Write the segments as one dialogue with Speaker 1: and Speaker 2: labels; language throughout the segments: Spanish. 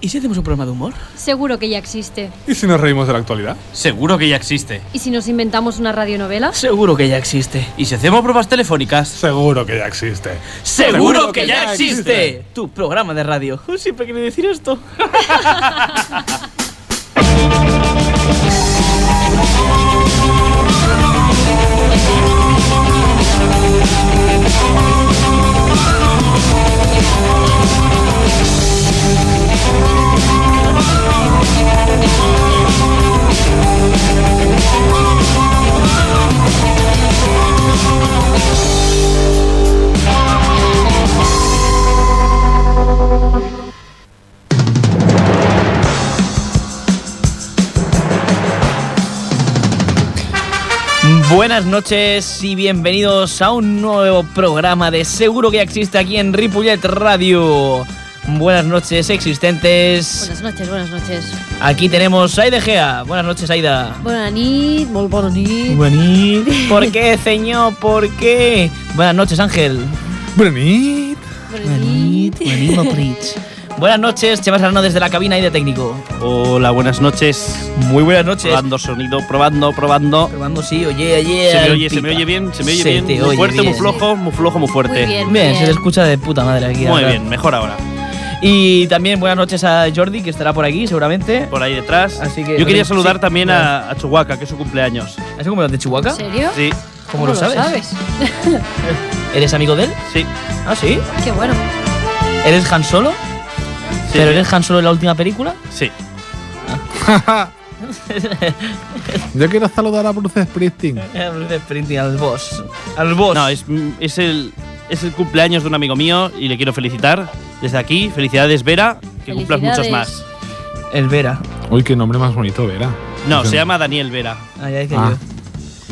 Speaker 1: ¿Y si hacemos un programa de humor?
Speaker 2: Seguro que ya existe.
Speaker 3: ¿Y si nos reímos de la actualidad?
Speaker 4: Seguro que ya existe.
Speaker 2: ¿Y si nos inventamos una radionovela?
Speaker 1: Seguro que ya existe.
Speaker 4: ¿Y si hacemos pruebas telefónicas?
Speaker 3: Seguro que ya existe.
Speaker 4: ¡Seguro que ya existe!
Speaker 1: Tu programa de radio. Siempre quería decir esto. Buenas noches y bienvenidos a un nuevo programa de Seguro que ya existe aquí en Ripollet Radio. Buenas noches existentes.
Speaker 2: Buenas noches, buenas noches.
Speaker 1: Aquí tenemos a Aida Gea. Buenas noches, Aida.
Speaker 2: Buenas nit, muy buenas nit.
Speaker 1: Buenas. ¿Por qué, señor? ¿Por qué? Buenas noches, Ángel.
Speaker 3: Brenit.
Speaker 2: Buenas nit.
Speaker 1: Buenas noches, Chema Serrano desde la cabina y de técnico.
Speaker 4: Hola, buenas noches.
Speaker 1: Muy buenas noches.
Speaker 4: Probando sonido, probando, probando.
Speaker 1: Probando, sí, oye, oye.
Speaker 4: Se me oye, se me oye bien, se me oye
Speaker 1: Se
Speaker 4: bien.
Speaker 1: te
Speaker 4: Muy
Speaker 1: oye
Speaker 4: fuerte,
Speaker 1: bien.
Speaker 4: muy flojo, muy flojo, muy fuerte.
Speaker 2: Muy bien,
Speaker 1: Bien, se te
Speaker 2: bien.
Speaker 1: escucha de puta madre aquí. la
Speaker 4: Muy
Speaker 1: verdad.
Speaker 4: bien, mejor ahora.
Speaker 1: Y también buenas noches a Jordi, que estará por aquí seguramente.
Speaker 4: Por ahí detrás.
Speaker 1: Así que-
Speaker 4: Yo quería
Speaker 1: sí,
Speaker 4: saludar también
Speaker 1: claro.
Speaker 4: a, a Chihuahua, que es su cumpleañus.
Speaker 1: ¿Has como de Chihuahua?
Speaker 2: ¿En serio?
Speaker 4: Sí,
Speaker 1: ¿Cómo lo sabes?
Speaker 2: Lo
Speaker 1: ¿Eres amigo de él?
Speaker 4: sí.
Speaker 1: Ah, sí.
Speaker 2: Qué bueno.
Speaker 1: ¿Eres Han Solo?
Speaker 4: sí.
Speaker 1: ¿Pero eres Han Solo en la última película?
Speaker 4: Sí.
Speaker 3: Yo quiero saludar a Bruce Springsteen.
Speaker 4: Eh,
Speaker 1: De Sprinting al boss. Al boss.
Speaker 4: No, es, es el, es el cumpleaños de un amigo mío y le quiero felicitar. Desde aquí, felicidades, Vera, que cumplas muchos
Speaker 2: Felicidades.
Speaker 4: más.
Speaker 1: El Vera.
Speaker 3: Uy, qué nombre más bonito, Vera.
Speaker 4: No, se llama Daniel Vera.
Speaker 1: Ah, ya dije
Speaker 3: Ah,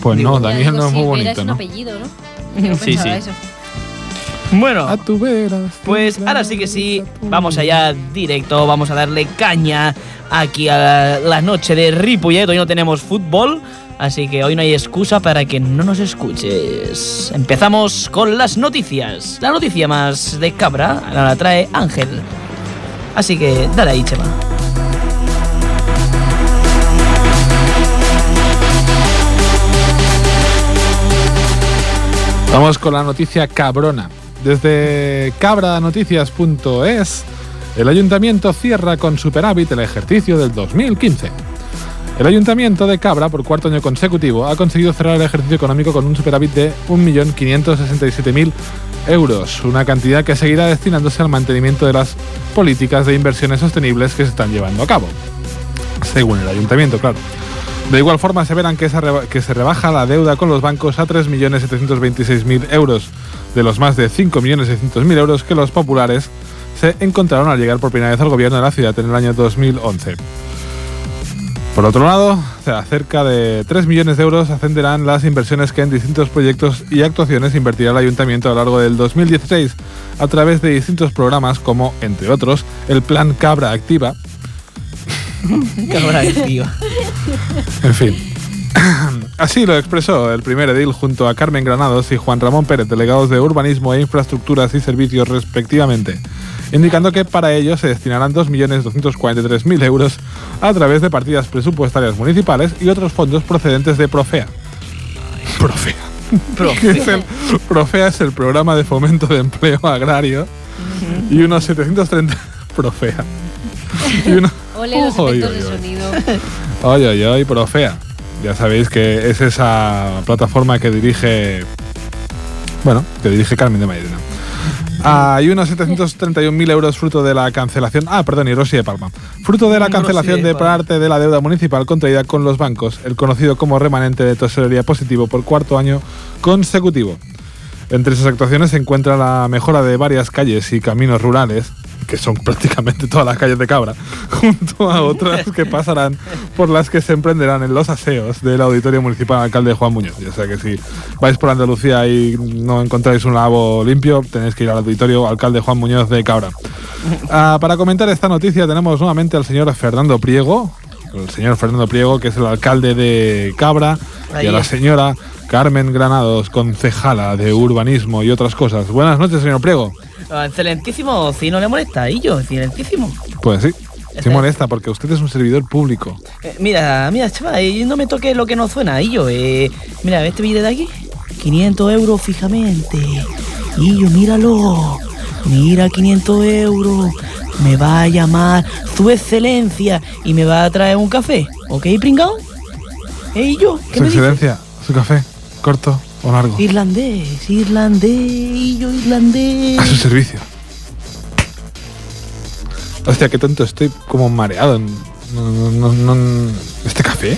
Speaker 3: Pues
Speaker 1: Digo,
Speaker 3: no,
Speaker 2: Ya
Speaker 3: Daniel
Speaker 2: digo,
Speaker 3: no es
Speaker 2: sí,
Speaker 3: muy
Speaker 2: Vera es
Speaker 3: bonito,
Speaker 2: un
Speaker 3: ¿no?
Speaker 2: apellido, ¿no? Yo
Speaker 4: Sí,
Speaker 2: pensaba
Speaker 4: sí.
Speaker 2: eso.
Speaker 1: yo. Bueno.
Speaker 3: A tu Vera.
Speaker 1: Pues ahora sí que sí, vamos allá directo, vamos a darle caña aquí a la, la noche de Ripollet. Hoy no tenemos fútbol, así que hoy no hay excusa para que no nos escuches. Empezamos con las noticias. La noticia más de cabra la, la trae Ángel. Así que dale ahí, Chema.
Speaker 3: Vamos con la noticia cabrona. Desde cabranoticias.es, el ayuntamiento cierra con superávit el ejercicio del 2015. El ayuntamiento de Cabra, por cuarto año consecutivo, ha conseguido cerrar el ejercicio económico con un superávit de 1.567.000 euros, una cantidad que seguirá destinándose al mantenimiento de las políticas de inversiones sostenibles que se están llevando a cabo. Según el ayuntamiento, claro. De igual forma, aseveran que, esa reba- que se rebaja la deuda con los bancos a 3.726.000 euros, de los más de 5.600.000 euros que los populares se encontraron al llegar por primera vez al gobierno de la ciudad en el año 2011. Por otro lado, a cerca de 3 millones de euros ascenderán las inversiones que en distintos proyectos y actuaciones invertirá el ayuntamiento a lo largo del 2016 a través de distintos programas como, entre otros, el Plan Cabra Activa,
Speaker 1: Cabrón, tío.
Speaker 3: En fin. Así lo expresó el primer edil junto a Carmen Granados y Juan Ramón Pérez, delegados de Urbanismo e Infraestructuras y Servicios respectivamente, indicando que para ello se destinarán 2.243.000 euros a través de partidas presupuestarias municipales y otros fondos procedentes de Profea. Profea. Que es el- Profea es el programa de fomento de empleo agrario y unos 730... Profea. Y unos-
Speaker 2: Ole los
Speaker 3: Oy,
Speaker 2: efectos
Speaker 3: oy,
Speaker 2: de
Speaker 3: oy.
Speaker 2: sonido.
Speaker 3: Oye, oye, oye, Profea. Ya sabéis que es esa plataforma que dirige. Bueno, que dirige Carmen de Mairena. Hay unos 731.000 euros fruto de la cancelación. Ah, perdón, y Rosy de Palma. Fruto de la
Speaker 1: Mm, Rosy
Speaker 3: cancelación
Speaker 1: de
Speaker 3: de
Speaker 1: Palma.
Speaker 3: parte de la deuda municipal contraída con los bancos, el conocido como remanente de tesorería positivo por cuarto año consecutivo. Entre sus actuaciones se encuentra la mejora de varias calles y caminos rurales, que son prácticamente todas las calles de Cabra, junto a otras que pasarán por las que se emprenderán en los aseos del Auditorio Municipal Alcalde Juan Muñoz. O sea que si vais por Andalucía y no encontráis un lavabo limpio, tenéis que ir al Auditorio Alcalde Juan Muñoz de Cabra. Ah, para comentar esta noticia tenemos nuevamente al señor Fernando Priego, el señor Fernando Priego, que es el alcalde de Cabra, y a la
Speaker 1: Ahí.
Speaker 3: señora Carmen Granados, concejala de urbanismo y otras cosas. Buenas noches, señor Priego.
Speaker 1: Ah, Excelentísimo, si no le molesta, y yo, excelentísimo.
Speaker 3: Pues sí. Se molesta porque usted es un servidor público.
Speaker 1: Eh, mira, mira, chaval, eh, no me toques lo que no suena, y yo, eh, mira, este billete de aquí, 500 euros fijamente, y yo, míralo, mira, 500 euros, me va a llamar su excelencia y me va a traer un café, ¿ok, pringao? Eh, y yo, ¿qué
Speaker 3: Su
Speaker 1: me dices?
Speaker 3: excelencia, su café, corto o largo.
Speaker 1: Irlandés, irlandés, y yo, irlandés.
Speaker 3: A su servicio. Hostia, qué tonto, estoy como mareado. No, no, no, no- ¿Este café?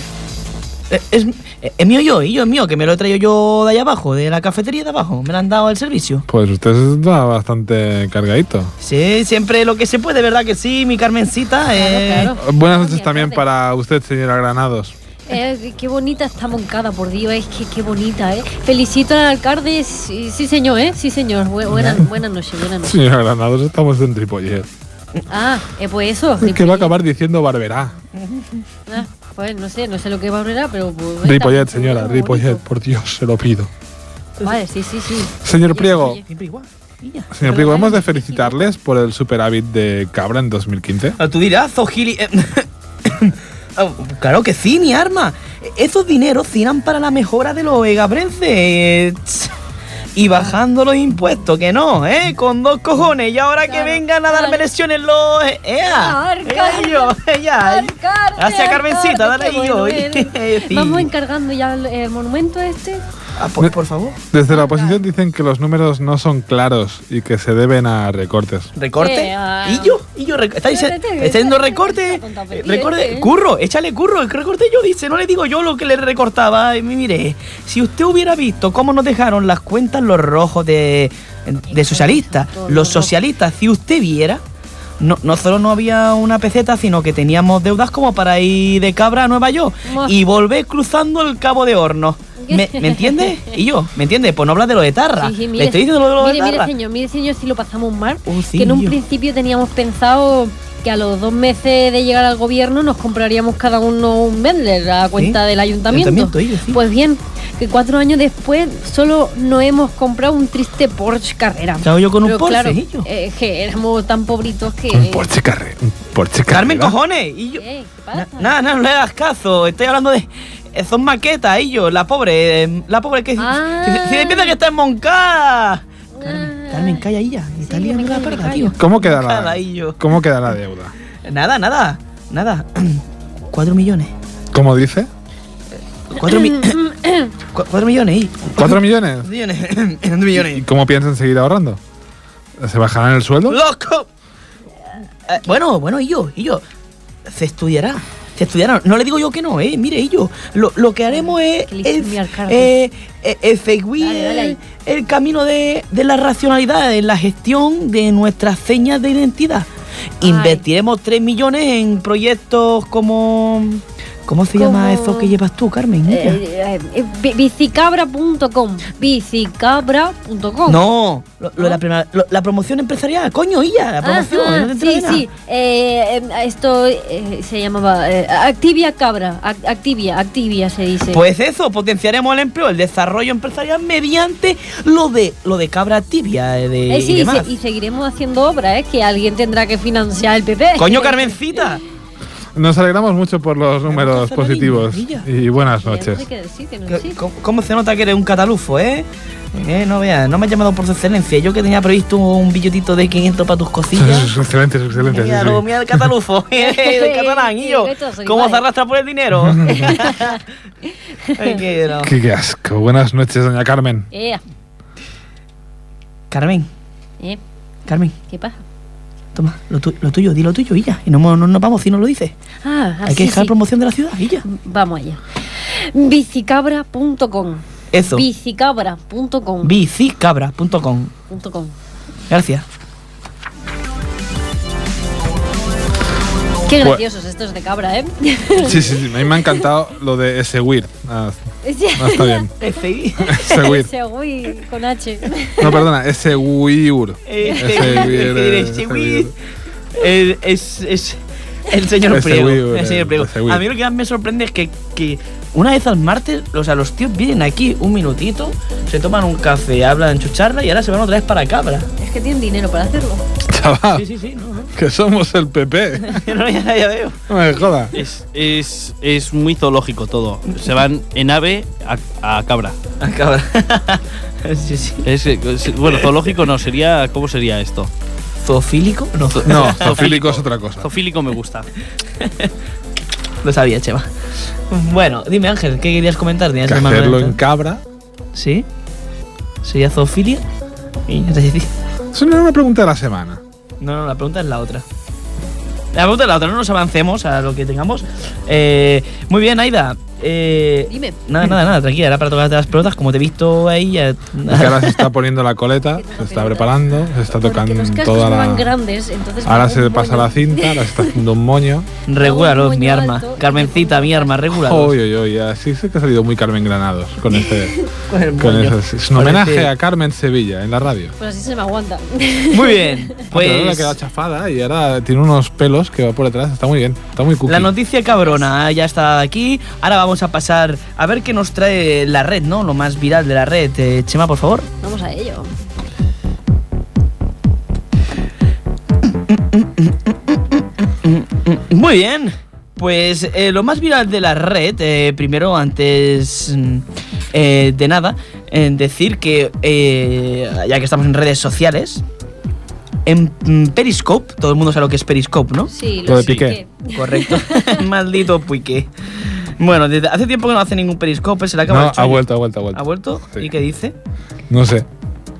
Speaker 1: Eh, Es, eh, es mío yo, y yo es mío, que me lo he traído yo de allá abajo, de la cafetería de abajo, me lo han dado al servicio.
Speaker 3: Pues usted está bastante cargadito.
Speaker 1: Sí, siempre lo que se puede, ¿verdad que sí, mi Carmencita? eh,
Speaker 2: Claro, claro.
Speaker 3: Buenas noches también
Speaker 2: tarde.
Speaker 3: para usted, señora Granados.
Speaker 2: Eh, qué bonita está Moncada, por Dios, es que qué bonita, ¿eh? Felicito al alcalde, sí, sí, señor, ¿eh? Sí señor, Bu- buena- buenas noches, buenas noches.
Speaker 3: Señora Granados, estamos en Tripollet.
Speaker 2: Ah, eh, pues eso.
Speaker 3: Es que va a acabar diciendo Barberá.
Speaker 2: Ah, pues no sé, no sé lo que va a hablar, pero... pues, está
Speaker 3: Ripollet,
Speaker 2: muy
Speaker 3: señora,
Speaker 2: bonito.
Speaker 3: Ripollet, por Dios, se lo pido.
Speaker 2: Vale, sí, sí, sí.
Speaker 3: Señor
Speaker 2: Oye,
Speaker 3: Priego,
Speaker 2: oye,
Speaker 1: Siempre igual. niña.
Speaker 3: señor Priego, hemos de felicitarles por el superávit de Cabra en 2015.
Speaker 1: Ah, Tú dirás, Zogili. eh, ah, claro que sí, mi arma. Esos dineros irán para la mejora de los egabrenses. eh, ts- Y bajando los impuestos, que no, ¿eh? Con dos cojones. Y ahora que
Speaker 2: Claro,
Speaker 1: vengan a darme
Speaker 2: claro.
Speaker 1: lesiones los... eh, ¡Ea!
Speaker 2: Alcalde,
Speaker 1: ¡Ea, yo! ¡Ea!
Speaker 2: Alcalde,
Speaker 1: Hacia Carmencita,
Speaker 2: alcalde,
Speaker 1: dale
Speaker 2: qué
Speaker 1: yo. eh.
Speaker 2: bueno eres.
Speaker 1: Sí.
Speaker 2: Vamos encargando ya el, eh, monumento este.
Speaker 1: Ah, por, por favor.
Speaker 3: Desde
Speaker 2: Ah,
Speaker 3: la oposición dicen que los números no son claros y que se deben a recortes.
Speaker 1: ¿Recorte?
Speaker 2: Eh, ah.
Speaker 1: ¿Y yo? ¿Y yo? rec- ¿Está dice-
Speaker 2: Espérate,
Speaker 1: está diciendo
Speaker 2: espérate,
Speaker 1: recorte?
Speaker 2: esta tonta
Speaker 1: Eh,
Speaker 2: pendiente.
Speaker 1: Recorte, curro, échale curro, el que recorte yo dice, no le digo yo lo que le recortaba. Y mire, si usted hubiera visto cómo nos dejaron las cuentas los rojos de, de socialistas,
Speaker 2: Todo
Speaker 1: los
Speaker 2: rojo.
Speaker 1: socialistas, si usted viera, no, no solo no había una peseta, sino que teníamos deudas como para ir de cabra a Nueva York
Speaker 2: Buah.
Speaker 1: y volver cruzando el cabo de horno. ¿Me, me entiende? ¿Y yo? ¿Me entiende? Pues no hablas de lo de Tarra.
Speaker 2: Sí, sí,
Speaker 1: le estoy diciendo lo de lo de
Speaker 2: mire, mire,
Speaker 1: Tarra.
Speaker 2: señor, mire, señor, si lo pasamos mal.
Speaker 1: Oh, sí,
Speaker 2: que en un
Speaker 1: yo.
Speaker 2: principio teníamos pensado que a los dos meses de llegar al gobierno nos compraríamos cada uno un Bender a cuenta
Speaker 1: Sí,
Speaker 2: del ayuntamiento.
Speaker 1: ayuntamiento, ellos, sí.
Speaker 2: Pues bien, que cuatro años después solo no hemos comprado un triste Porsche Carrera.
Speaker 1: Estaba yo con un
Speaker 2: Pero
Speaker 1: Porsche,
Speaker 2: claro,
Speaker 1: ¿y yo?
Speaker 2: eh, que éramos tan pobritos que...
Speaker 3: Un Porsche Carre- un Porsche
Speaker 1: Carmen,
Speaker 3: Carrera.
Speaker 1: cojones. Y yo,
Speaker 2: Eh, ¿Qué
Speaker 1: Na-
Speaker 2: pasa?
Speaker 1: Nada, nada, no le hagas caso. Estoy hablando de. eh, Son maquetas, ellos. La pobre. eh, La pobre que.
Speaker 2: Ah.
Speaker 1: Si, si- si piensa que está en Moncada. Carmen,
Speaker 2: Ah.
Speaker 1: Carmen, calla ella. Está
Speaker 2: que me
Speaker 1: liando la
Speaker 2: callo, me
Speaker 1: parda,
Speaker 2: callo.
Speaker 1: tío.
Speaker 3: ¿Cómo queda
Speaker 1: Moncada,
Speaker 3: la,
Speaker 1: ellos.
Speaker 3: ¿Cómo queda la deuda?
Speaker 1: Nada, nada. Nada. Cuatro millones.
Speaker 3: ¿Cómo dice?
Speaker 1: Cuatro, mi- cu- cuatro millones, y.
Speaker 3: ¿Cuatro millones?
Speaker 1: Cuatro millones. Cuatro
Speaker 3: ¿Y
Speaker 1: millones.
Speaker 3: cómo piensan seguir ahorrando? ¿Se bajarán el sueldo?
Speaker 1: ¡Loco! Eh, bueno, bueno, y yo, y yo. Se estudiará. Se estudiará. No le digo yo que no, eh. Mire, y yo. Lo, lo que haremos es.
Speaker 2: Que le
Speaker 1: es-
Speaker 2: cambie al cargo.
Speaker 1: eh, eh, efectuar
Speaker 2: Dale, dale ahí.
Speaker 1: el camino de, de la racionalidad, en la gestión de nuestras señas de identidad.
Speaker 2: Ay.
Speaker 1: Invertiremos 3 millones en proyectos como. ¿Cómo se llama
Speaker 2: Como-
Speaker 1: eso que llevas tú, Carmen? Mira.
Speaker 2: Eh, eh, eh, bicicabra.com
Speaker 1: Oh.
Speaker 2: bicicabra.com
Speaker 1: No, lo- lo de la,
Speaker 2: ¿No?
Speaker 1: prima- lo- la promoción empresarial, coño, Illa, la promoción.
Speaker 2: Ajá,
Speaker 1: no te enteras
Speaker 2: sí,
Speaker 1: de nada.
Speaker 2: sí. Eh, em, esto eh, se llamaba eh, Activia Cabra. Ac- Activia, Activia se dice.
Speaker 1: Pues eso, potenciaremos el empleo, el desarrollo empresarial mediante lo de lo de cabra tibia eh, de,
Speaker 2: Eh, sí,
Speaker 1: y
Speaker 2: y, se-
Speaker 1: demás.
Speaker 2: y seguiremos haciendo obras, ¿eh? que alguien tendrá que financiar el Pues, eh, PP.
Speaker 1: Coño, Carmencita.
Speaker 3: Nos alegramos mucho por los
Speaker 1: coge
Speaker 3: números
Speaker 1: la
Speaker 3: positivos.
Speaker 1: niña,
Speaker 3: Y buenas
Speaker 2: Ya no sé
Speaker 3: noches.
Speaker 2: qué decir, que no
Speaker 1: C-
Speaker 2: sé.
Speaker 1: ¿Cómo, cómo se nota que eres un catalufo, eh? Eh, no veas, no me has llamado por su excelencia. Yo que tenía previsto un billetito de 500 para tus cosillas.
Speaker 3: Excelentes, excelentes. sí,
Speaker 1: Mira,
Speaker 3: sí.
Speaker 1: lo mira el catalufo, eh, el catalán, y yo.
Speaker 2: Estos son
Speaker 1: ¿Cómo
Speaker 2: iguales.
Speaker 1: se arrastra por el dinero? Ay, qué no.
Speaker 3: Qué qué asco. Buenas noches, doña Carmen.
Speaker 2: Ea,
Speaker 1: Carmen,
Speaker 2: eh,
Speaker 1: Carmen,
Speaker 2: ¿Qué pasa?
Speaker 1: toma, lo, tu- lo tuyo, di lo tuyo, y ya. Y no mo- no nos vamos si no lo dices.
Speaker 2: Ah,
Speaker 1: Hay que
Speaker 2: así
Speaker 1: dejar
Speaker 2: sí.
Speaker 1: promoción de la ciudad, y ya.
Speaker 2: Vamos allá. Bicicabra.com.
Speaker 1: Eso.
Speaker 2: Bicicabra.com.
Speaker 1: bicicabra.com.
Speaker 2: punto com.
Speaker 1: Gracias.
Speaker 2: Qué
Speaker 3: Bueno.
Speaker 2: graciosos estos de cabra, ¿eh?
Speaker 3: Sí, sí, sí. A mí me ha encantado lo de ese weird. Ah,
Speaker 2: Sí.
Speaker 3: ah, está bien.
Speaker 1: Este,
Speaker 3: Ese weird.
Speaker 2: Seguí con H.
Speaker 3: No, perdona, ese weird.
Speaker 1: Este,
Speaker 2: Este,
Speaker 3: Ese weird. eh, ese weird.
Speaker 1: El- es, es el señor
Speaker 3: Ese
Speaker 1: Priego.
Speaker 3: Wii,
Speaker 1: el señor Priego.
Speaker 3: ese Wii.
Speaker 1: A mí lo que más me sorprende es que, que una vez al martes, o sea, los tíos vienen aquí un minutito, se toman un café, hablan su charla y ahora se van otra vez para Cabra.
Speaker 2: Es que tienen dinero para hacerlo.
Speaker 1: Sí,
Speaker 3: Chaval,
Speaker 1: sí, sí, no, no.
Speaker 3: que somos el PP.
Speaker 1: No, ya, ya veo.
Speaker 3: No me jodas.
Speaker 4: Es, es, es muy zoológico todo. Se van en ave a, a cabra.
Speaker 1: A Ah, Cabra. sí, sí.
Speaker 4: Es, es- bueno, zoológico no, sería. ¿Cómo sería esto?
Speaker 1: ¿Zoofílico? No, zo-
Speaker 3: No, zoofílico es otra cosa.
Speaker 4: Zoofílico me gusta.
Speaker 1: lo sabía, Chema. Bueno, dime Ángel, ¿qué querías comentar? ¿Tenías
Speaker 3: Que
Speaker 1: el manual
Speaker 3: hacerlo en
Speaker 1: mental?
Speaker 3: cabra.
Speaker 1: ¿Sí? ¿Sería zoofilia? Y es decir,
Speaker 3: Eso no era una pregunta de la semana.
Speaker 1: No, no, la pregunta es la otra. La pregunta es la otra, no nos avancemos a lo que tengamos. Eh, muy bien, Aida. Eh,
Speaker 2: Dime.
Speaker 1: Nada, nada, nada, tranquila, era para tocarte las pelotas. Como te he visto ahí, ya.
Speaker 3: Y que ahora se está poniendo la coleta, se está preparando, se está tocando
Speaker 2: Porque los cascos
Speaker 3: toda
Speaker 2: no van
Speaker 3: la.
Speaker 2: grandes, entonces me
Speaker 3: Ahora
Speaker 2: hago
Speaker 3: se
Speaker 2: un
Speaker 3: pasa
Speaker 2: moño.
Speaker 3: la cinta, ahora se está haciendo un moño.
Speaker 1: Regúralos, mi
Speaker 2: Alto.
Speaker 1: arma. Carmencita, mi arma, regúralos.
Speaker 3: Oye, oye, oye, así se te ha salido muy Carmen Granados con este.
Speaker 1: Con el
Speaker 3: con
Speaker 1: moño.
Speaker 3: ese- Es un homenaje
Speaker 1: Parece-
Speaker 3: a Carmen Sevilla en la radio. Ah,
Speaker 2: Pues así se me aguanta.
Speaker 1: Muy bien,
Speaker 3: Pero ahora
Speaker 1: pues.
Speaker 3: queda chafada y ahora tiene unos pelos que va por detrás. Está muy bien, está muy cookie.
Speaker 1: La noticia cabrona ah, ya está aquí. Ahora vamos a pasar a ver qué nos trae la red, ¿no? Lo más viral de la red. Eh, Chema, por favor.
Speaker 2: Vamos a ello.
Speaker 1: Muy bien. Pues eh, lo más viral de la red, eh, primero, antes mm, eh, de nada, eh, decir que, eh, ya que estamos en redes sociales, en mm, Periscope, todo el mundo sabe lo que es Periscope, ¿no?
Speaker 2: Sí,
Speaker 3: Lo
Speaker 2: lo
Speaker 3: de
Speaker 2: sé
Speaker 3: Piqué.
Speaker 2: que-
Speaker 1: Correcto. Maldito puique. Bueno, desde hace tiempo que no hace ningún Periscope, se le acaba
Speaker 3: No,
Speaker 1: el
Speaker 3: ha
Speaker 1: chollo.
Speaker 3: vuelto, ha vuelto, ha vuelto.
Speaker 1: ¿Ha vuelto?
Speaker 3: Sí.
Speaker 1: ¿Y qué dice?
Speaker 3: No sé.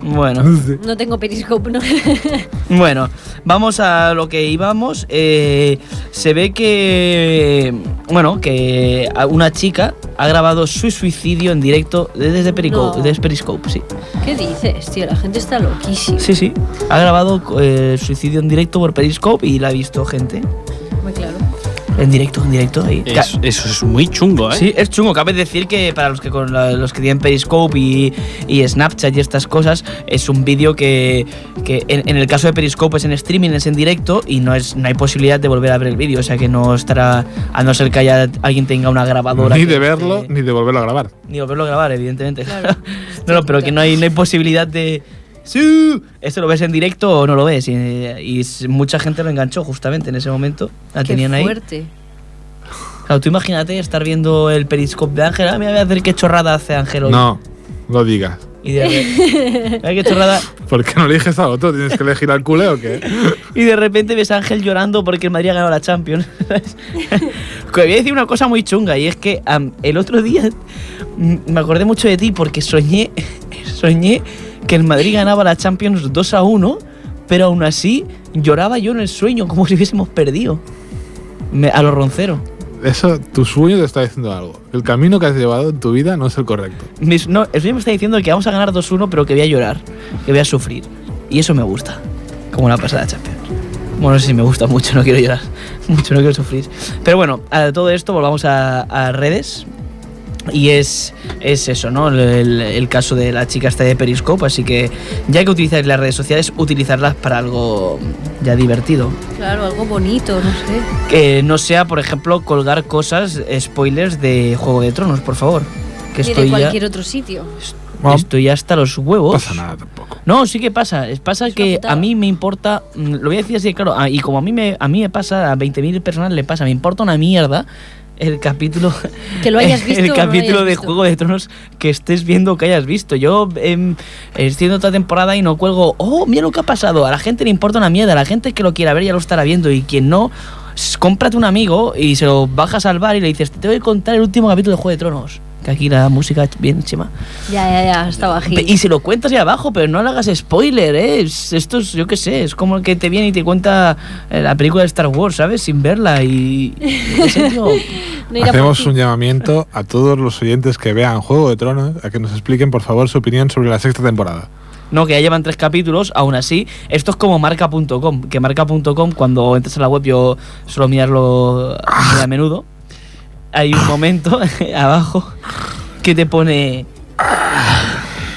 Speaker 1: Bueno.
Speaker 3: No sé.
Speaker 2: No tengo periscope, ¿no?
Speaker 1: Bueno, vamos a lo que íbamos. Eh, se ve que. Bueno, que a- una chica ha grabado su suicidio en directo desde Periscope.
Speaker 2: No.
Speaker 1: Desde Periscope, sí.
Speaker 2: ¿Qué dices, tío? La gente está loquísima.
Speaker 1: Sí, sí. Ha grabado eh, suicidio en directo por Periscope y la ha visto gente.
Speaker 2: Muy claro.
Speaker 1: En directo, en directo. ahí. Ca-
Speaker 4: Es- eso es muy chungo, ¿eh?
Speaker 1: Sí, es chungo. Cabe decir que para los que con la- los que tienen Periscope y, y Snapchat y estas cosas, es un vídeo que, que en, en el caso de Periscope es en streaming, es en directo y no es no hay posibilidad de volver a ver el vídeo. O sea que no estará, a no ser que haya, alguien tenga una grabadora.
Speaker 3: Ni
Speaker 1: que
Speaker 3: de verlo,
Speaker 1: esté-
Speaker 3: ni de volverlo a grabar.
Speaker 1: ni volverlo a grabar, evidentemente.
Speaker 2: Claro.
Speaker 1: no, no, pero que no hay, no hay posibilidad de. ¡Sí! Esto lo ves en directo o no lo ves. Y, y s- mucha gente lo enganchó justamente en ese momento. La
Speaker 2: Qué
Speaker 1: tenían ahí.
Speaker 2: fuerte.
Speaker 1: Claro, tú imagínate estar viendo el periscope de Ángel. Ah, mira, voy a ver qué chorrada hace Ángel hoy.
Speaker 3: No, lo digas.
Speaker 1: Y de, re- Mira qué chorrada.
Speaker 3: ¿Por qué no eliges a otro? ¿Tienes que elegir al culé o qué?
Speaker 1: Y de repente ves a Ángel llorando porque el Madrid ha ganado la Champions. ¿sabes? Que voy a decir una cosa muy chunga y es que am, el otro día mm, me acordé mucho de ti porque soñé, soñé que el Madrid ganaba la Champions 2 a 1, pero aún así lloraba yo en el sueño como si hubiésemos perdido. Me- a los ronceros.
Speaker 3: Eso, tu sueño te está diciendo algo. El camino que has llevado en tu vida no es el correcto.
Speaker 1: Mis- no, el sueño me está diciendo que vamos a ganar 2-1, pero que voy a llorar, que voy a sufrir. Y eso me gusta, como una pasada Champions. Bueno, no sé si me gusta mucho, no quiero llorar, mucho no quiero sufrir. Pero bueno, a todo esto volvamos a, a redes. Y es, es eso, ¿no? El, el- el caso de la chica esta de Periscope. Así que ya que utilizáis las redes sociales, utilizarlas para algo ya divertido.
Speaker 2: Claro, algo bonito, no sé.
Speaker 1: Que no sea, por ejemplo, colgar cosas, eh, spoilers de Juego de Tronos, por favor. Que
Speaker 2: Ni
Speaker 1: estoy
Speaker 2: de
Speaker 1: ya-
Speaker 2: cualquier otro sitio.
Speaker 3: Bueno,
Speaker 1: Estoy hasta los
Speaker 3: No
Speaker 1: huevos.
Speaker 3: pasa nada tampoco.
Speaker 1: No, sí que pasa. Es- Pasa
Speaker 2: Es una
Speaker 1: que
Speaker 2: putada.
Speaker 1: a mí me importa. mm, Lo voy a decir así, de claro. ah, Y como a mí me, a mí me pasa, a 20.000 personas le pasa, me importa una mierda el capítulo.
Speaker 2: Que lo hayas visto. o
Speaker 1: El
Speaker 2: no lo
Speaker 1: capítulo
Speaker 2: hayas
Speaker 1: de
Speaker 2: visto.
Speaker 1: Juego de Tronos que estés viendo o que hayas visto. Yo em, estoy en otra temporada y no cuelgo. Oh, mira lo que ha pasado. A la gente le importa una mierda. A la gente que lo quiera ver ya lo estará viendo. Y quien no, s- cómprate un amigo y se lo bajas al bar y le dices, te voy a contar el último capítulo de Juego de Tronos. Que aquí la música es bien chema.
Speaker 2: Ya, ya, ya, está bajito.
Speaker 1: Pe- Y se lo cuentas ahí abajo, pero no le hagas spoiler, ¿eh? Es- Esto es, yo qué sé, es como el que te viene y te cuenta eh, la película de Star Wars, ¿sabes? Sin verla y... y- en serio,
Speaker 2: No irá por
Speaker 3: Hacemos
Speaker 2: ti.
Speaker 3: un llamamiento a todos los oyentes que vean Juego de Tronos a que nos expliquen, por favor, su opinión sobre la sexta temporada.
Speaker 1: no, que ya llevan tres capítulos, aún así, esto es como marca.com, que marca.com cuando entras a la web yo suelo mirarlo muy a menudo. Hay un momento abajo que te pone...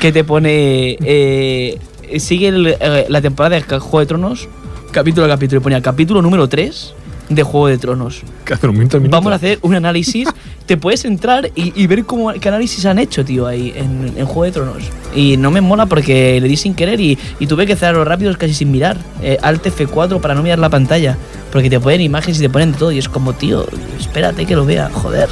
Speaker 1: que te pone. eh, sigue el, eh, la temporada de Juego de Tronos, capítulo a capítulo. Y ponía capítulo número 3 de Juego de Tronos.
Speaker 3: Que hacer un minuto, minuto.
Speaker 1: Vamos a hacer un análisis te puedes entrar y, y ver cómo, qué análisis han hecho, tío, ahí en, en Juego de Tronos. Y no me mola porque le di sin querer y, y tuve que cerrarlo rápido casi sin mirar. Eh, Alt F4 para no mirar la pantalla. Porque te ponen imágenes y te ponen de todo. Y es como, tío, espérate que lo vea, joder.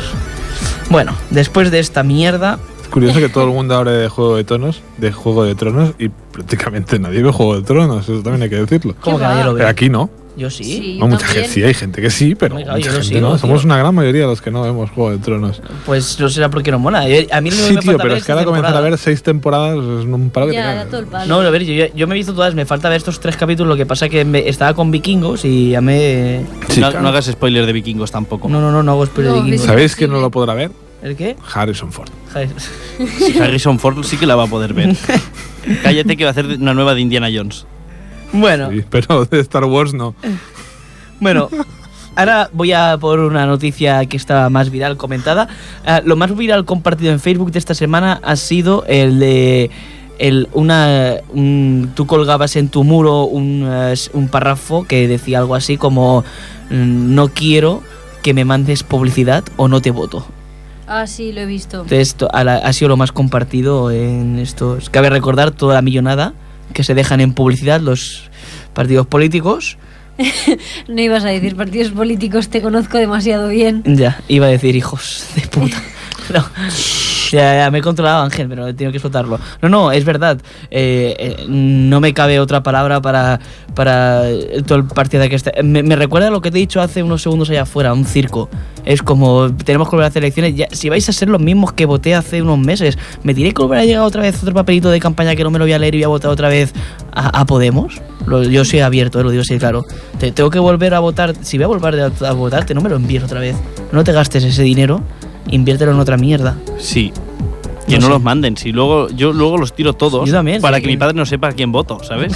Speaker 1: Bueno, después de esta mierda,
Speaker 3: Es curioso que todo el mundo hable de Juego de Tronos, de Juego de Tronos, y prácticamente nadie ve Juego de Tronos, eso también hay que decirlo.
Speaker 1: como que
Speaker 2: va?
Speaker 1: nadie lo ve.
Speaker 3: Pero aquí no.
Speaker 1: Yo sí.
Speaker 2: Sí,
Speaker 3: No, mucha
Speaker 2: también.
Speaker 3: gente, sí, hay gente que sí, pero
Speaker 1: Hombre, claro,
Speaker 3: mucha
Speaker 1: yo lo
Speaker 3: gente
Speaker 1: sigo,
Speaker 3: no.
Speaker 1: tío.
Speaker 3: Somos una gran mayoría los que no vemos Juego de Tronos.
Speaker 1: Pues no será porque no mola. Yo- A mí lo
Speaker 3: Sí,
Speaker 1: me
Speaker 3: tío,
Speaker 1: falta
Speaker 3: pero
Speaker 1: ver
Speaker 3: es
Speaker 1: esta
Speaker 3: que ahora comenzar a
Speaker 1: temporada.
Speaker 3: ver seis temporadas es un palo que te
Speaker 2: Ya, da
Speaker 3: cagas.
Speaker 2: todo el palo.
Speaker 1: No, a ver, yo, yo- yo me he visto todas, me falta ver estos tres capítulos, lo que pasa que me- estaba con vikingos y ya me...
Speaker 3: Sí,
Speaker 4: no,
Speaker 3: claro.
Speaker 4: no hagas spoiler de vikingos tampoco.
Speaker 1: No, no, no, no hago spoiler
Speaker 2: No,
Speaker 1: de vikingos.
Speaker 2: Vicky-
Speaker 3: ¿Sabéis quién no lo podrá ver?
Speaker 1: ¿El qué?
Speaker 3: Harrison Ford.
Speaker 1: Joder.
Speaker 4: Si Harrison Ford sí que la va a poder ver. Cállate que va a hacer una nueva de Indiana Jones.
Speaker 1: Bueno,
Speaker 3: Sí, pero de Star Wars no.
Speaker 1: bueno. Ahora voy a por una noticia que está más viral comentada. Ah, lo más viral compartido en Facebook de esta semana ha sido el de el, una, un- tú colgabas en tu muro un, eh, s- un párrafo que decía algo así como mm, no quiero que me mandes publicidad o no te voto.
Speaker 2: Ah, sí, lo he visto.
Speaker 1: Entonces, esto ha, la- ha sido lo más compartido en estos. Cabe recordar toda la millonada que se dejan en publicidad los partidos políticos.
Speaker 2: No ibas a decir partidos políticos, te conozco demasiado bien.
Speaker 1: Ya, iba a decir hijos de puta. No. Ya, ya, me he controlado, Ángel, pero he tenido que soltarlo. No, no, es verdad. Eh, eh, no me cabe otra palabra para, para eh, todo el partido que está. Me, me recuerda a lo que te he dicho hace unos segundos allá afuera, un circo. Es como, tenemos que volver a hacer elecciones. Ya, si vais a ser los mismos que voté hace unos meses, ¿me diré que volverá a llegar otra vez otro papelito de campaña que no me lo voy a leer y voy a votar otra vez a, a Podemos? Lo- yo soy abierto, eh, lo digo así, claro. Te- tengo que volver a votar. Si voy a volver a, a votarte, no me lo envíes otra vez. No te gastes ese dinero, inviértelo en otra mierda.
Speaker 4: Sí. Que
Speaker 1: No
Speaker 4: no,
Speaker 1: sé.
Speaker 4: los manden, si luego yo luego los tiro todos
Speaker 1: Yo también,
Speaker 4: para
Speaker 1: sí.
Speaker 4: que mi padre no sepa a quién voto, ¿sabes?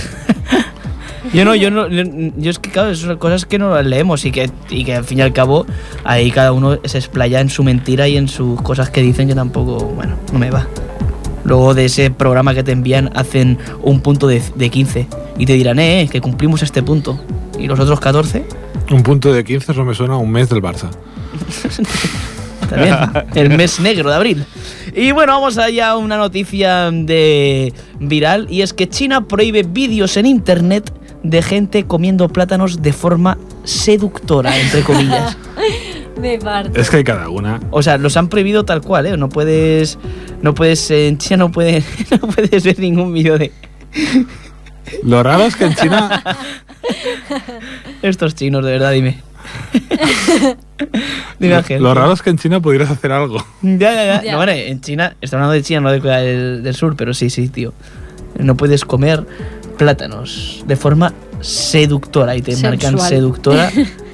Speaker 1: Yo no, yo no, yo, yo es que claro, esas son cosas que no las leemos y que, y que al fin y al cabo ahí cada uno se explaya en su mentira y en sus cosas que dicen que tampoco, bueno, no me va. Luego de ese programa que te envían hacen un punto de, de 15 y te dirán, eh, eh, que cumplimos este punto. Y los otros 14
Speaker 3: Un punto de 15 eso me suena a un mes del Barça.
Speaker 1: También. El mes negro de abril. Y bueno, vamos allá a una noticia de viral y es que China prohíbe vídeos en internet de gente comiendo plátanos de forma seductora, entre comillas.
Speaker 2: Me parto.
Speaker 3: Es que hay cada una.
Speaker 1: O sea, los han prohibido tal cual, ¿eh? No puedes. No puedes. En China no puedes, no puedes ver ningún vídeo de
Speaker 3: Lo raro es que en China,
Speaker 1: estos chinos, de verdad, dime. dime, Ángel.
Speaker 3: lo raro es que en China pudieras hacer algo.
Speaker 1: Ya, ya, ya.
Speaker 2: Ya.
Speaker 1: No, vale, en China, está hablando de China, no de Corea del, del Sur, pero sí, sí, tío. No puedes comer plátanos de forma seductora y te
Speaker 2: Sensual.
Speaker 1: marcan seductora.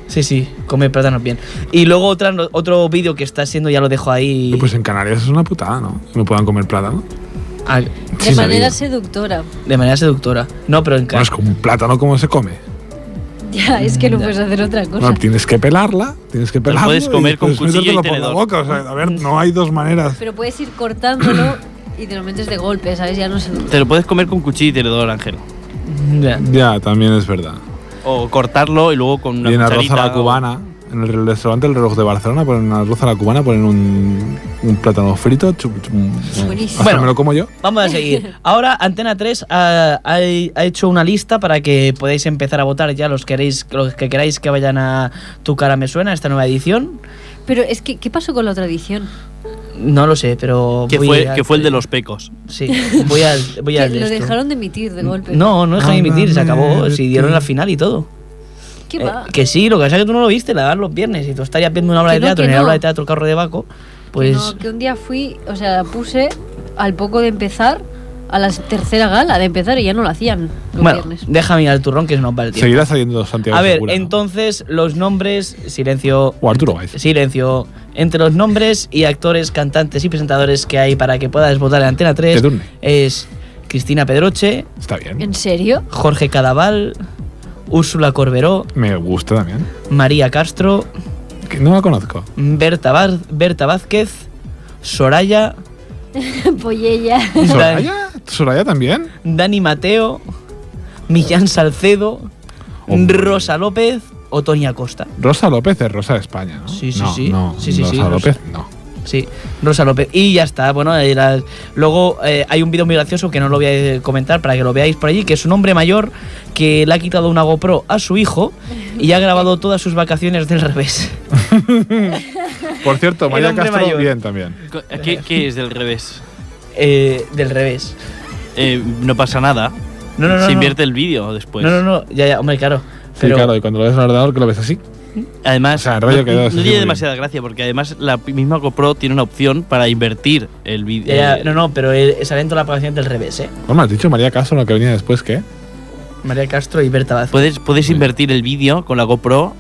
Speaker 1: Sí, sí, come plátanos bien. Y luego otra, no- otro vídeo que está haciendo, ya lo dejo ahí.
Speaker 3: Pues en Canarias es una putada, ¿no? Que no puedan comer plátano.
Speaker 1: ah,
Speaker 2: De
Speaker 3: Sí,
Speaker 2: manera
Speaker 3: sabía.
Speaker 2: seductora.
Speaker 1: de manera seductora. No, pero en
Speaker 3: Bueno,
Speaker 1: ca-
Speaker 3: es como un plátano como se come.
Speaker 2: Ya, es que no
Speaker 1: Ya.
Speaker 2: puedes hacer otra cosa.
Speaker 3: No, tienes que pelarla, tienes que pelarla.
Speaker 4: puedes
Speaker 3: y
Speaker 4: comer con
Speaker 3: después
Speaker 4: cuchillo y
Speaker 3: metértelo por la
Speaker 4: tenedor.
Speaker 3: boca. O sea, a ver, no hay dos maneras.
Speaker 2: Pero puedes ir cortándolo y te lo metes de golpe, ¿sabes? Ya no sé.
Speaker 4: Te lo puedes comer con cuchillo y tenedor, Ángel.
Speaker 1: ya.
Speaker 3: Ya, también es verdad.
Speaker 4: O cortarlo y luego con una
Speaker 3: y en arroz
Speaker 4: cucharita.
Speaker 3: a la
Speaker 4: o-
Speaker 3: cubana, en el restaurante El Reloj de Barcelona, ponen en arroz a la cubana, ponen un, un plátano frito. chup, chup,
Speaker 2: Buenísimo.
Speaker 3: hasta
Speaker 1: Bueno.
Speaker 3: me lo como yo.
Speaker 1: Vamos a seguir. Ahora Antena 3 ha, ha- ha hecho una lista para que podáis empezar a votar ya los, queréis, los que queráis que vayan a Tu cara me suena, esta nueva edición.
Speaker 2: Pero es que, ¿qué pasó con la otra edición?
Speaker 1: No lo sé, pero.
Speaker 4: Que
Speaker 1: voy
Speaker 4: fue,
Speaker 1: al-
Speaker 4: que fue el de los pecos.
Speaker 1: Sí, voy al. Voy
Speaker 2: Que
Speaker 1: al
Speaker 2: lo
Speaker 1: esto.
Speaker 2: dejaron de emitir de golpe.
Speaker 1: No, no dejan de emitir, se acabó.
Speaker 3: Háblame de
Speaker 1: Si dieron
Speaker 3: ti.
Speaker 1: la final y todo.
Speaker 2: ¿Qué
Speaker 1: Eh,
Speaker 2: va?
Speaker 1: que sí, lo que pasa es que tú no lo viste, la dan los viernes y tú estarías viendo una obra de
Speaker 2: Que no,
Speaker 1: teatro,
Speaker 2: que
Speaker 1: en la
Speaker 2: no.
Speaker 1: obra de teatro Carro de Baco, pues.
Speaker 2: No, que un día fui, o sea, la puse al poco de empezar, a la tercera gala de empezar y ya no lo hacían los
Speaker 1: bueno,
Speaker 2: viernes.
Speaker 1: déjame ir al turrón que se nos va el tiempo.
Speaker 3: Seguirá saliendo Santiago
Speaker 1: A ver,
Speaker 3: Segura, ¿no?
Speaker 1: entonces, los nombres. Silencio.
Speaker 3: O Arturo Valls.
Speaker 1: Silencio. Entre los nombres y actores, cantantes y presentadores que hay para que puedas votar en Antena 3
Speaker 3: Edurne.
Speaker 1: es Cristina Pedroche,
Speaker 3: Está bien.
Speaker 2: ¿En serio?
Speaker 1: Jorge Cadaval, Úrsula Corberó,
Speaker 3: Me gusta también.
Speaker 1: María Castro,
Speaker 3: Que no la conozco.
Speaker 1: Berta, Vaz- Berta Vázquez, Soraya,
Speaker 2: Pollella.
Speaker 3: ¿Soraya? ¿Soraya también?
Speaker 1: Dan- Dani Mateo, Millán Salcedo,
Speaker 3: Hombre.
Speaker 1: Rosa López, o Tony Acosta.
Speaker 3: Rosa López es Rosa de España, ¿no?
Speaker 1: Sí, sí,
Speaker 3: No,
Speaker 1: sí.
Speaker 3: no,
Speaker 1: Sí, sí,
Speaker 3: Rosa
Speaker 1: sí,
Speaker 3: López, no.
Speaker 1: Sí, Rosa López. Y ya está, bueno, eh, las- luego eh, hay un vídeo muy gracioso que no lo voy a eh, comentar para que lo veáis por allí, que es un hombre mayor que le ha quitado una GoPro a su hijo y ha grabado todas sus vacaciones del revés.
Speaker 3: Por cierto,
Speaker 1: El
Speaker 3: María
Speaker 1: hombre
Speaker 3: Castro,
Speaker 1: mayor.
Speaker 3: bien también.
Speaker 4: Co- ¿Qué, qué es del revés?
Speaker 1: Eh, del revés.
Speaker 4: Eh, no pasa nada.
Speaker 1: No, no, no.
Speaker 4: Se
Speaker 1: no.
Speaker 4: invierte el vídeo después.
Speaker 1: No, no, no, ya, ya, hombre, claro.
Speaker 3: pues. Sí,
Speaker 1: Pero
Speaker 3: claro, y cuando lo ves en el ordenador que lo ves así.
Speaker 4: Además,
Speaker 3: O sea, el rollo
Speaker 4: no,
Speaker 3: quedó
Speaker 4: no
Speaker 3: así muy
Speaker 4: tiene
Speaker 3: bien.
Speaker 4: demasiada gracia porque además la misma GoPro tiene una opción para invertir el vídeo.
Speaker 1: ya, ya, no, no, pero eh, salen todas las vacaciones del revés, ¿eh?
Speaker 3: ¿Cómo has dicho María Castro lo que venía después qué?
Speaker 1: María Castro y Berta Vázquez.
Speaker 3: Pues-
Speaker 4: Puedes, puedes invertir el vídeo con la GoPro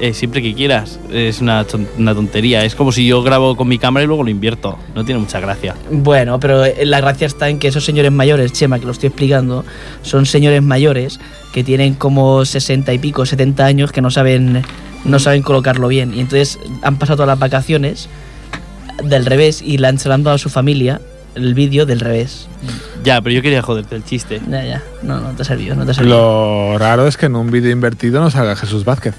Speaker 4: eh, siempre que quieras. Es una, ton- una tontería. Es como si yo grabo con mi cámara y luego lo invierto. No tiene mucha gracia.
Speaker 1: Bueno, pero eh, la gracia está en que esos señores mayores, Chema, que lo estoy explicando, son señores mayores que tienen como 60 y pico, 70 años que no saben no saben colocarlo bien y entonces han pasado todas las vacaciones del revés y lanzando a su familia el vídeo del revés.
Speaker 4: Ya, pero yo quería joderte el chiste.
Speaker 1: Ya, ya. No, no te ha servido, no te ha servido.
Speaker 3: Lo raro es que en un vídeo invertido no salga Jesús Vázquez.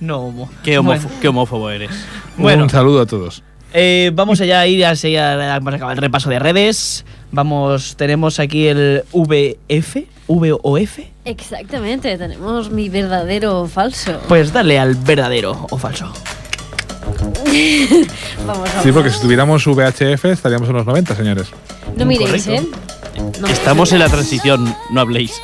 Speaker 1: No homo.
Speaker 4: Qué, homófo-
Speaker 1: Bueno,
Speaker 4: qué homófobo eres.
Speaker 1: Bueno.
Speaker 3: Un saludo a todos.
Speaker 1: eh, vamos allá a ir así a- vamos a acabar el repaso de redes. Vamos, tenemos aquí el VF, VOF.
Speaker 2: Exactamente, tenemos mi verdadero o falso.
Speaker 1: Pues dale al verdadero o falso.
Speaker 2: Vamos a
Speaker 3: Sí, porque si tuviéramos VHF estaríamos en los 90, señores.
Speaker 2: No miréis, ¿eh?
Speaker 1: Correcto.
Speaker 2: No.
Speaker 4: Estamos en la transición, no habléis.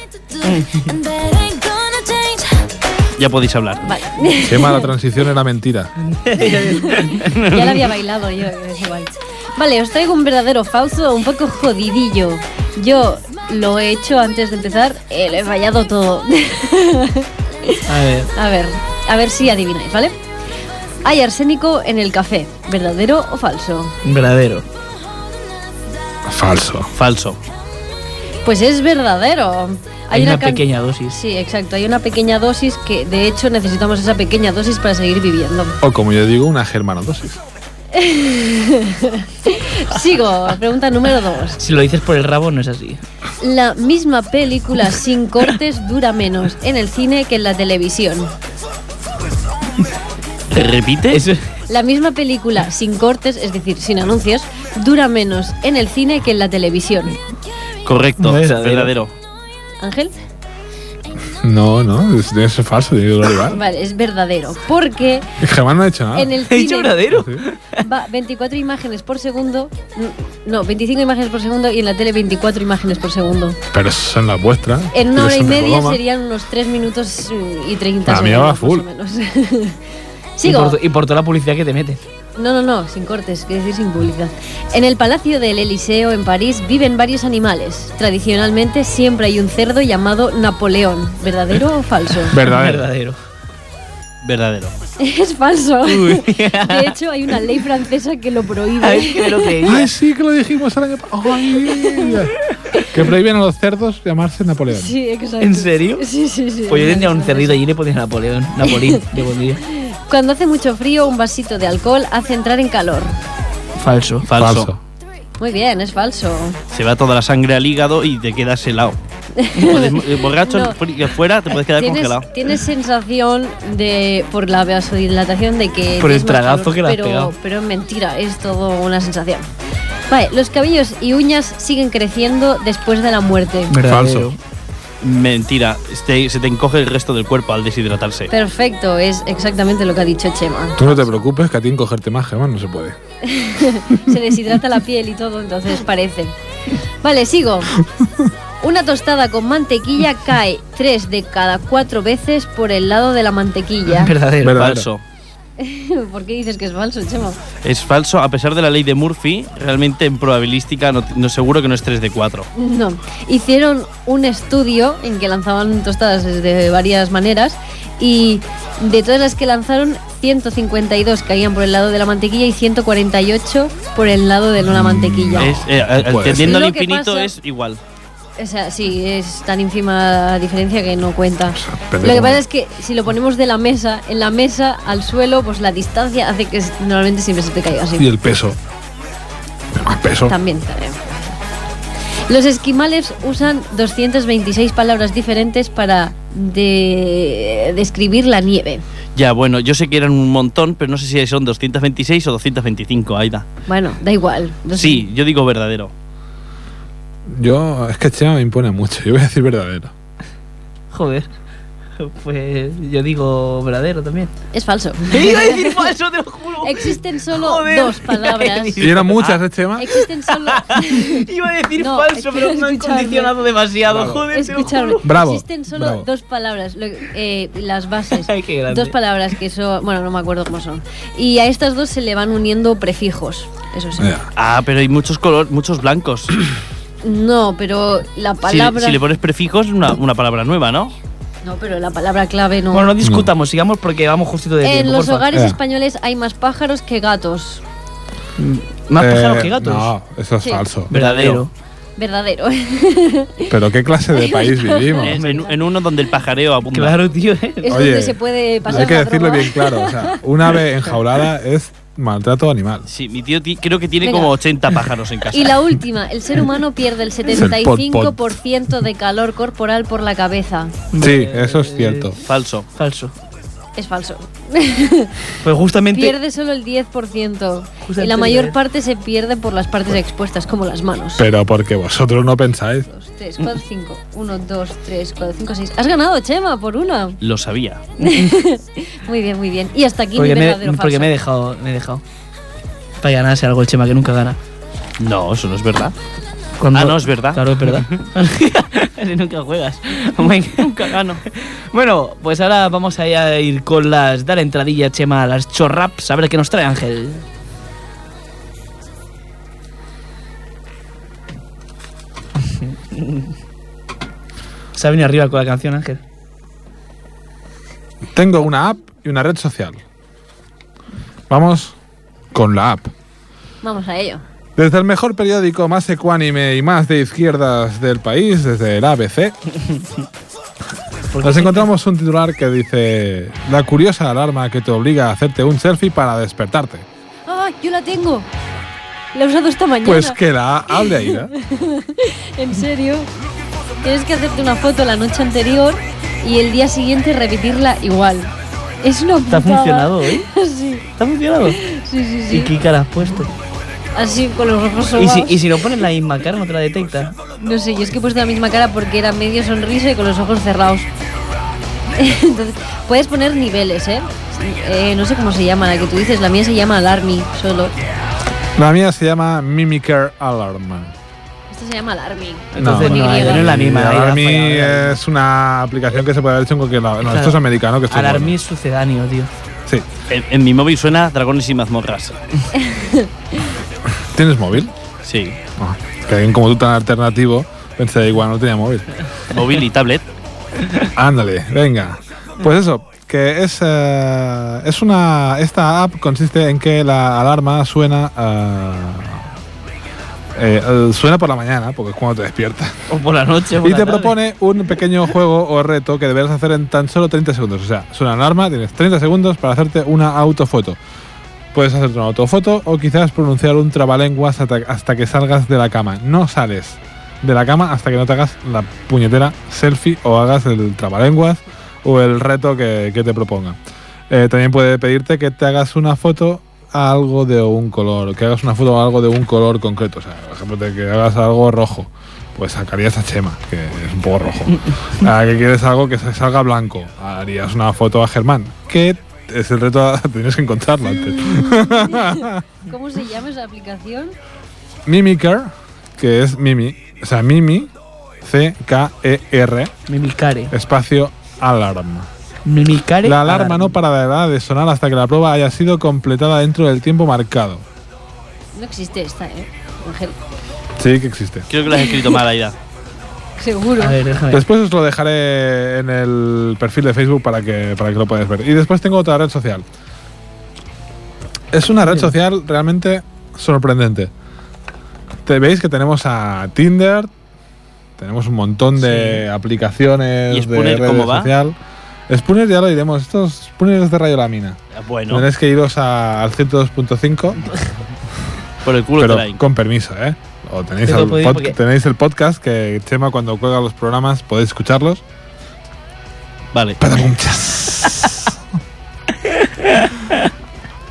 Speaker 4: Ya podéis hablar.
Speaker 2: Vale.
Speaker 3: Chema, la transición era mentira.
Speaker 2: ya la había bailado yo, es igual. Vale, os traigo un verdadero falso, un poco jodidillo. Yo lo he hecho antes de empezar, eh, lo he fallado todo.
Speaker 1: A ver.
Speaker 2: a ver, a ver si adivináis, ¿vale? Hay arsénico en el café, ¿verdadero o falso?
Speaker 1: Verdadero.
Speaker 3: Falso.
Speaker 4: Falso.
Speaker 2: Pues es verdadero.
Speaker 1: Hay, una,
Speaker 2: can-
Speaker 1: pequeña dosis.
Speaker 2: Sí, exacto. Hay una pequeña dosis que, de hecho, necesitamos esa pequeña dosis para seguir viviendo.
Speaker 3: O como yo digo, una germanodosis.
Speaker 2: Sigo. Pregunta número dos.
Speaker 1: Si lo dices por el rabo, no es así.
Speaker 2: La misma película sin cortes dura menos en el cine que en la televisión.
Speaker 4: ¿Te repite?
Speaker 1: Eso-
Speaker 2: La misma película sin cortes, es decir, sin anuncios, dura menos en el cine que en la televisión.
Speaker 4: Correcto,
Speaker 1: Verdadero.
Speaker 4: verdadero.
Speaker 2: Ángel,
Speaker 3: No, no, es, debe ser falso, tiene que dudar.
Speaker 2: vale, es verdadero, porque
Speaker 3: Germán no Ah, ha hecho nada.
Speaker 2: en el
Speaker 1: He dicho
Speaker 2: cine
Speaker 1: verdadero.
Speaker 2: va 24 imágenes por segundo, no, 25 imágenes por segundo y en la tele 24 imágenes por segundo.
Speaker 3: Pero esas son las vuestras.
Speaker 2: En una hora y
Speaker 3: Eres un
Speaker 2: media
Speaker 3: megómano.
Speaker 2: serían unos 3 minutos mm, y 30
Speaker 3: La mía va
Speaker 2: segundos, más o menos.
Speaker 1: Y
Speaker 2: Sigo.
Speaker 1: por, y por toda la publicidad que te metes.
Speaker 2: No, no, no, sin cortes, quiero decir sin publicidad. En el Palacio del Eliseo, en París, viven varios animales. Tradicionalmente siempre hay un cerdo llamado Napoleón. ¿Verdadero o falso?
Speaker 3: Verdadero.
Speaker 1: Verdadero.
Speaker 4: Verdadero.
Speaker 2: es falso. De hecho, hay una ley francesa que lo
Speaker 1: Ay,
Speaker 2: prohíbe.
Speaker 1: que me lo creía.
Speaker 3: Ay, sí, que lo dijimos el año pasado. Que prohíben a los cerdos llamarse Napoleón.
Speaker 2: Sí, exacto.
Speaker 1: ¿En serio?
Speaker 2: Sí, sí, sí.
Speaker 1: Pues yo
Speaker 2: una
Speaker 1: tendría
Speaker 2: ley
Speaker 1: un cerrito
Speaker 2: francesa.
Speaker 1: allí y le ponía Napoleón. Napolín, le pondría.
Speaker 2: Cuando hace mucho frío, un vasito de alcohol hace entrar en calor.
Speaker 1: Falso.
Speaker 4: Falso.
Speaker 2: Muy bien, es falso.
Speaker 4: Se va toda la sangre al hígado y te quedas helado. Puedes- eh, Borracho
Speaker 2: No.
Speaker 4: fri- afuera, te puedes quedar
Speaker 2: Tienes,
Speaker 4: congelado.
Speaker 2: tienes sensación de por la vasodilatación de que
Speaker 1: Por el
Speaker 2: tienes más
Speaker 1: tragazo que le has
Speaker 2: pero,
Speaker 1: pegado.
Speaker 2: pero es mentira, es todo una sensación. Vale, los cabellos y uñas siguen creciendo después de la muerte.
Speaker 1: Verdadero.
Speaker 3: Falso.
Speaker 4: Mentira, este- se te encoge el resto del cuerpo al deshidratarse.
Speaker 2: Perfecto, es exactamente lo que ha dicho Chema.
Speaker 3: Tú no te preocupes, que a ti encogerte más, Germán, no se puede.
Speaker 2: Se deshidrata la piel y todo, entonces parece. Vale, sigo. Una tostada con mantequilla cae tres de cada cuatro veces por el lado de la mantequilla.
Speaker 1: Verdadero.
Speaker 3: Verdadero.
Speaker 4: Falso.
Speaker 2: ¿Por qué dices que es falso, Chema?
Speaker 4: Es falso, a pesar de la ley de Murphy, realmente en probabilística no, no seguro que no es 3 de 4.
Speaker 2: No, hicieron un estudio en que lanzaban tostadas de varias maneras y de todas las que lanzaron, 152 caían por el lado de la mantequilla y 148 por el lado de una mantequilla.
Speaker 4: Es, eh, a-
Speaker 3: No puede
Speaker 4: tendiendo
Speaker 2: ser.
Speaker 4: al
Speaker 2: Lo que
Speaker 4: infinito
Speaker 2: pasa-
Speaker 4: es igual.
Speaker 2: O sea, sí, es tan ínfima la diferencia que no cuenta.
Speaker 3: sea,
Speaker 2: Lo
Speaker 3: depende
Speaker 2: que
Speaker 3: cómo-
Speaker 2: pasa es que si lo ponemos de la mesa, en la mesa al suelo, pues la distancia hace que normalmente siempre se te caiga así.
Speaker 3: Y el peso. Más peso.
Speaker 2: También, también. Los esquimales usan 226 palabras diferentes para de- describir la nieve.
Speaker 4: Ya, bueno, yo sé que eran un montón, pero no sé si son 226 o 225, Aida.
Speaker 2: Bueno, da igual. Dos-
Speaker 4: Sí, yo digo verdadero.
Speaker 3: Yo, es que Chema me impone mucho, yo voy a decir verdadero.
Speaker 1: Joder. Pues yo digo verdadero también.
Speaker 2: Es falso.
Speaker 1: Iba a decir falso, te lo juro.
Speaker 2: Existen solo
Speaker 1: Joder.
Speaker 2: dos palabras.
Speaker 3: Y eran muchas, ¿eh, Chema?
Speaker 2: Existen solo.
Speaker 1: Iba a decir
Speaker 2: No, es
Speaker 1: falso,
Speaker 2: que
Speaker 1: pero me han
Speaker 2: escuchadme.
Speaker 1: condicionado demasiado.
Speaker 3: Bravo.
Speaker 1: Joder, te lo
Speaker 2: Escuchadme.
Speaker 1: juro.
Speaker 3: Bravo,
Speaker 2: Existen solo
Speaker 3: bravo.
Speaker 2: dos palabras, lo- eh, las bases.
Speaker 1: Ay, qué grande.
Speaker 2: Dos palabras que son. Bueno, no me acuerdo cómo son. Y a estas dos se le van uniendo prefijos. Eso sí.
Speaker 3: Ya.
Speaker 4: Ah, pero hay muchos colores, muchos blancos. Si-
Speaker 2: No, pero la
Speaker 4: si,
Speaker 2: palabra.
Speaker 4: le pones prefijos, una, una palabra nueva, ¿no?
Speaker 2: No, pero la palabra clave no.
Speaker 1: Bueno, no
Speaker 3: Mm.
Speaker 1: discutamos, sigamos porque vamos justito de tiempo.
Speaker 2: en los
Speaker 1: porfa.
Speaker 2: hogares
Speaker 3: Eh.
Speaker 2: españoles hay más pájaros que gatos.
Speaker 1: Más pájaros
Speaker 3: Eh,
Speaker 1: que gatos.
Speaker 3: No, eso es
Speaker 2: Sí.
Speaker 3: falso.
Speaker 1: Verdadero.
Speaker 2: Verdadero.
Speaker 3: Pero qué clase de país vivimos.
Speaker 4: En, en- en uno donde el pajareo apunta.
Speaker 1: Claro, tío. ¿eh?
Speaker 2: es
Speaker 3: Oye,
Speaker 2: donde se puede pasar
Speaker 3: Hay que
Speaker 2: la
Speaker 3: decirlo
Speaker 2: droga.
Speaker 3: bien claro. O sea, un ave enjaulada es maltrato animal.
Speaker 4: Sí, mi tío ti- creo que tiene
Speaker 2: Venga.
Speaker 4: como 80 pájaros en casa.
Speaker 2: Y la última, el ser humano pierde el
Speaker 3: el Pol Pot.
Speaker 2: 75% de calor corporal por la cabeza.
Speaker 3: Sí, eso es cierto.
Speaker 4: Falso.
Speaker 1: Falso.
Speaker 2: Es falso.
Speaker 1: Pues justamente.
Speaker 2: Pierde solo el 10%.
Speaker 1: Justo
Speaker 2: y la
Speaker 1: antes
Speaker 2: mayor
Speaker 1: de-
Speaker 2: parte se pierde por las partes expuestas, como las manos.
Speaker 3: Pero porque vosotros no pensáis.
Speaker 2: 2, 3, 4, 5. 1, 2, 3, 4, 5, 6. Has ganado, Chema, por una.
Speaker 4: Lo sabía.
Speaker 2: Muy bien, muy bien. Y hasta aquí
Speaker 1: Porque
Speaker 2: mi
Speaker 1: me,
Speaker 2: verdadero
Speaker 1: porque
Speaker 2: falso.
Speaker 1: me he dejado. Me he dejado. Para ganarse algo el Chema que nunca gana.
Speaker 4: No, eso no es verdad.
Speaker 1: Cuando-
Speaker 4: Ah, no, es verdad.
Speaker 1: Claro, es verdad. Si nunca juegas. Oh nunca gano. Bueno, pues ahora vamos a ir- a ir con las. Dar entradilla, Chema, a las chorraps. A ver qué nos trae Ángel. Se ha venido arriba con la canción, Ángel.
Speaker 3: Tengo una app y una red social. Vamos con la app.
Speaker 2: Vamos a ello.
Speaker 3: Desde el mejor periódico más ecuánime y más de izquierdas del país, desde el ABC, nos encontramos un titular que dice La curiosa alarma que te obliga a hacerte un selfie para despertarte.
Speaker 2: ¡Ah, yo la tengo! La he usado esta mañana.
Speaker 3: Pues que la hable ahí, ¿eh? ¿no?
Speaker 2: ¿En serio? Tienes que hacerte una foto la noche anterior y el día siguiente repetirla igual. Es una
Speaker 1: ¿Te ha
Speaker 2: putada.
Speaker 1: funcionado, eh?
Speaker 2: Sí,
Speaker 1: ¿Te ha funcionado?
Speaker 2: sí, sí,
Speaker 1: ¿Y
Speaker 2: sí.
Speaker 1: qué cara has puesto?
Speaker 2: Así con los ojos
Speaker 1: ¿Y
Speaker 2: sobaos.
Speaker 1: si, y si no pones la misma cara, no te la detecta.
Speaker 2: No sé, yo es que he puesto la misma cara porque era medio sonrisa y con los ojos cerrados. Entonces, puedes poner niveles, ¿eh? Eh, No sé cómo se llama la que tú dices, la mía se llama Alarmy solo.
Speaker 3: La mía se llama Mimicker Alarm.
Speaker 2: Esta se llama Alarmy.
Speaker 1: Entonces,
Speaker 2: No,
Speaker 1: no,
Speaker 2: no,
Speaker 1: Aida, no es la misma. Aida,
Speaker 3: Alarmi
Speaker 1: falla, Aida.
Speaker 3: es una aplicación que se puede haber hecho en cualquier lado. No,
Speaker 1: Claro.
Speaker 3: esto es americano que estoy
Speaker 1: Alarmi
Speaker 3: bueno.
Speaker 1: es sucedáneo, tío.
Speaker 3: Sí.
Speaker 4: En, en mi móvil suena dragones y mazmorras.
Speaker 3: ¿Tienes móvil?
Speaker 4: Sí.
Speaker 3: Ah, que alguien como tú tan alternativo pensé, igual no tenía móvil.
Speaker 4: Móvil y tablet.
Speaker 3: Ándale, venga. Pues eso, que es, eh, es una... Esta app consiste en que la alarma suena... eh, eh, suena por la mañana, porque es cuando te despiertas.
Speaker 1: O por la noche. o por
Speaker 3: Y
Speaker 1: la
Speaker 3: te
Speaker 1: tarde.
Speaker 3: propone un pequeño juego o reto que deberás hacer en tan solo 30 segundos. O sea, suena alarma, tienes 30 segundos para hacerte una autofoto. Puedes hacerte una autofoto o quizás pronunciar un trabalenguas hasta, hasta que salgas de la cama. No sales de la cama hasta que no te hagas la puñetera selfie o hagas el trabalenguas o el reto que, que te proponga. Eh, también puede pedirte que te hagas una foto a algo de un color, que hagas una foto a algo de un color concreto. O sea, por ejemplo, de que hagas algo rojo. Pues sacarías a Chema, que es un poco rojo. Ah, que quieres algo que se salga blanco. Harías una foto a Germán. Que es el reto, tienes que encontrarlo antes.
Speaker 2: ¿Cómo se llama esa aplicación?
Speaker 3: Mimiker, que es Mimi. O sea, Mimi, C-K-E-R,
Speaker 1: Mimicare.
Speaker 3: espacio alarma.
Speaker 1: Mimicare.
Speaker 3: La alarma no parará de sonar hasta que la prueba haya sido completada dentro del tiempo marcado.
Speaker 2: No existe esta, ¿eh? Ángel,
Speaker 3: Sí que existe.
Speaker 4: Creo que lo has escrito mal, Aida.
Speaker 2: seguro.
Speaker 1: A ver,
Speaker 4: Ah,
Speaker 1: déjame.
Speaker 3: Después os lo dejaré en el perfil de Facebook para que, para que lo podáis ver. Y después tengo otra red social. Es una red social realmente sorprendente. Te veis que tenemos a Tinder, tenemos un montón de aplicaciones
Speaker 4: ¿Y
Speaker 3: de
Speaker 4: Spooner
Speaker 3: red
Speaker 4: cómo va?
Speaker 3: social. Spooner ya lo diremos, estos Spooner es de Rayo Lamina.
Speaker 4: Bueno,
Speaker 3: Tendréis que iros a- al 102.5,
Speaker 4: por el culo te la
Speaker 3: pero con permiso, ¿eh? o tenéis,
Speaker 1: Pero
Speaker 3: al
Speaker 1: podéis-
Speaker 3: pod-
Speaker 1: porque-
Speaker 3: tenéis el podcast que Chema cuando cuelga los programas podéis escucharlos.
Speaker 4: Vale.
Speaker 3: Padabum, chas.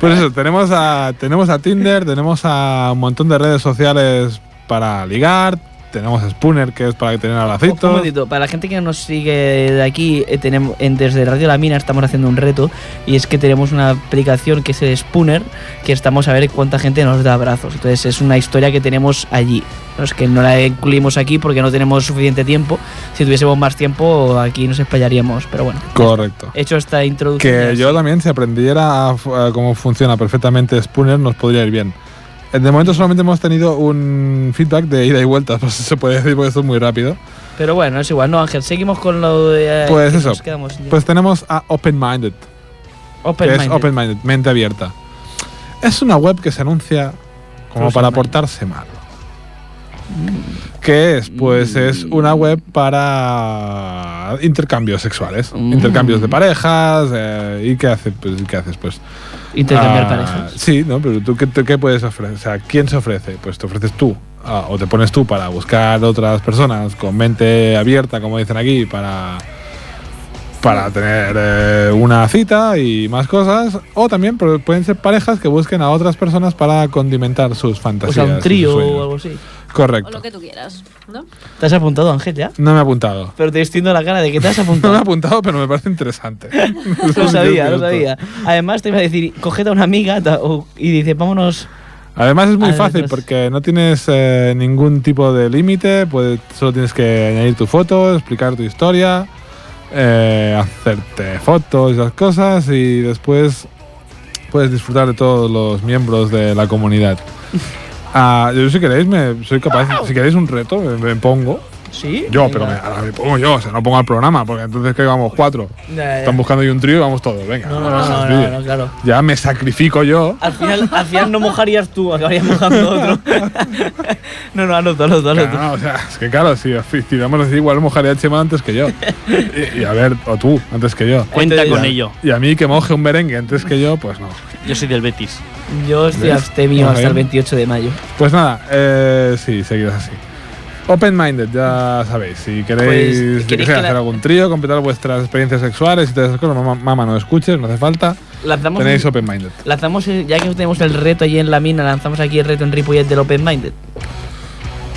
Speaker 3: Pues eso, tenemos a, tenemos a Tinder, tenemos a un montón de redes sociales para ligar, tenemos a Spooner, que es para tener al
Speaker 1: Un
Speaker 3: lacito.
Speaker 1: momentito, para la gente que nos sigue de aquí, eh, tenemos, en- desde Radio La Mina estamos haciendo un reto y es que tenemos una aplicación que es el Spooner, que estamos a ver cuánta gente nos da abrazos. Entonces es una historia que tenemos allí. No es que no la incluimos aquí porque no tenemos suficiente tiempo. Si tuviésemos más tiempo, aquí nos espallaríamos. Pero bueno,
Speaker 3: Correcto.
Speaker 1: hecho esta introducción.
Speaker 3: Que yo también, si aprendiera a fu- a cómo funciona perfectamente Spooner, nos podría ir bien. Eh, De momento solamente hemos tenido un feedback de ida y vuelta, por eso se puede decir, porque esto es muy rápido.
Speaker 1: Pero bueno, es igual. No, Ángel, seguimos con lo de. eh,
Speaker 3: Pues
Speaker 1: que
Speaker 3: eso.
Speaker 1: nos quedamos sin
Speaker 3: Pues tenemos a Open Minded,
Speaker 1: open
Speaker 3: que es
Speaker 1: minded.
Speaker 3: Open Minded, mente abierta. Es una web que se anuncia como
Speaker 1: Close
Speaker 3: para
Speaker 1: mind.
Speaker 3: portarse mal. ¿Qué es? Pues es una web para intercambios sexuales,
Speaker 1: Mm.
Speaker 3: intercambios de parejas. eh, ¿Y qué hace? Pues, ¿qué haces? Pues
Speaker 1: Intercambiar
Speaker 3: Ah,
Speaker 1: parejas.
Speaker 3: Sí, ¿no? Pero tú, ¿qué, tú qué puedes ofrecer? O sea, ¿quién se ofrece? Pues te ofreces tú. ah, o te pones tú para buscar otras personas con mente abierta, como dicen aquí, para, para tener eh, una cita y más cosas. O también pero pueden ser parejas que busquen a otras personas para condimentar sus
Speaker 1: O
Speaker 3: fantasías.
Speaker 1: sea, un
Speaker 3: y
Speaker 1: trío
Speaker 3: sus
Speaker 1: o
Speaker 3: sueños.
Speaker 1: algo así.
Speaker 2: O
Speaker 3: Correcto.
Speaker 2: lo que tú quieras, ¿no?
Speaker 1: ¿Te has apuntado, Ángel, ya?
Speaker 3: No me he apuntado.
Speaker 1: Pero te estoy viendo la cara de que te has
Speaker 3: No me he
Speaker 1: apuntado.
Speaker 3: apuntado, pero me parece interesante.
Speaker 1: lo sabía, lo sabía. Además, te iba a decir, coged a una amiga ta- o- y dice, vámonos.
Speaker 3: Además es muy
Speaker 1: Además-
Speaker 3: fácil porque no tienes eh, ningún tipo de límite, pues solo tienes que añadir tu foto, explicar tu historia, eh, hacerte fotos y esas cosas y después puedes disfrutar de todos los miembros de la comunidad. Ah, yo si queréis me soy capaz, si queréis un reto me, me pongo
Speaker 1: ¿Sí?
Speaker 3: yo,
Speaker 1: Venga.
Speaker 3: pero me, ahora me pongo yo, o sea no pongo al programa porque entonces que vamos cuatro,
Speaker 1: Ya, ya.
Speaker 3: están buscando ahí un trío y vamos todos, venga.
Speaker 1: Eh. No, no, no, no, no, no, claro.
Speaker 3: Ya me sacrifico yo.
Speaker 1: Al final, al final no mojarías tú, acabarías mojando otro. no, no, anota, anota, anota.
Speaker 3: Claro, o sea, es que claro, si, si vamos así, igual mojaría a Chema antes que yo. Y, y a ver, o tú, antes que yo.
Speaker 4: Cuenta
Speaker 1: Entonces-
Speaker 4: con
Speaker 3: Y a-
Speaker 4: ello.
Speaker 3: Y a mí que moje un merengue antes que yo, pues no.
Speaker 4: Yo soy del Betis.
Speaker 1: Yo estoy
Speaker 3: ¿Ves?
Speaker 1: abstemio
Speaker 3: Muy
Speaker 1: hasta el
Speaker 3: bien.
Speaker 1: 28 de mayo.
Speaker 3: Pues nada, eh, sí, seguidos así. Open Minded, ya sabéis, si queréis,
Speaker 1: Pues, ¿queréis
Speaker 3: yo qué sé,
Speaker 1: que la-
Speaker 3: hacer algún trío, completar vuestras experiencias sexuales y todas esas cosas, mamá, mamá, no escuches, no hace falta,
Speaker 1: Lanzamos,
Speaker 3: tenéis Open Minded.
Speaker 1: lanzamos, el- ya que tenemos el reto allí en la mina, lanzamos aquí el reto en Ripollet del Open Minded.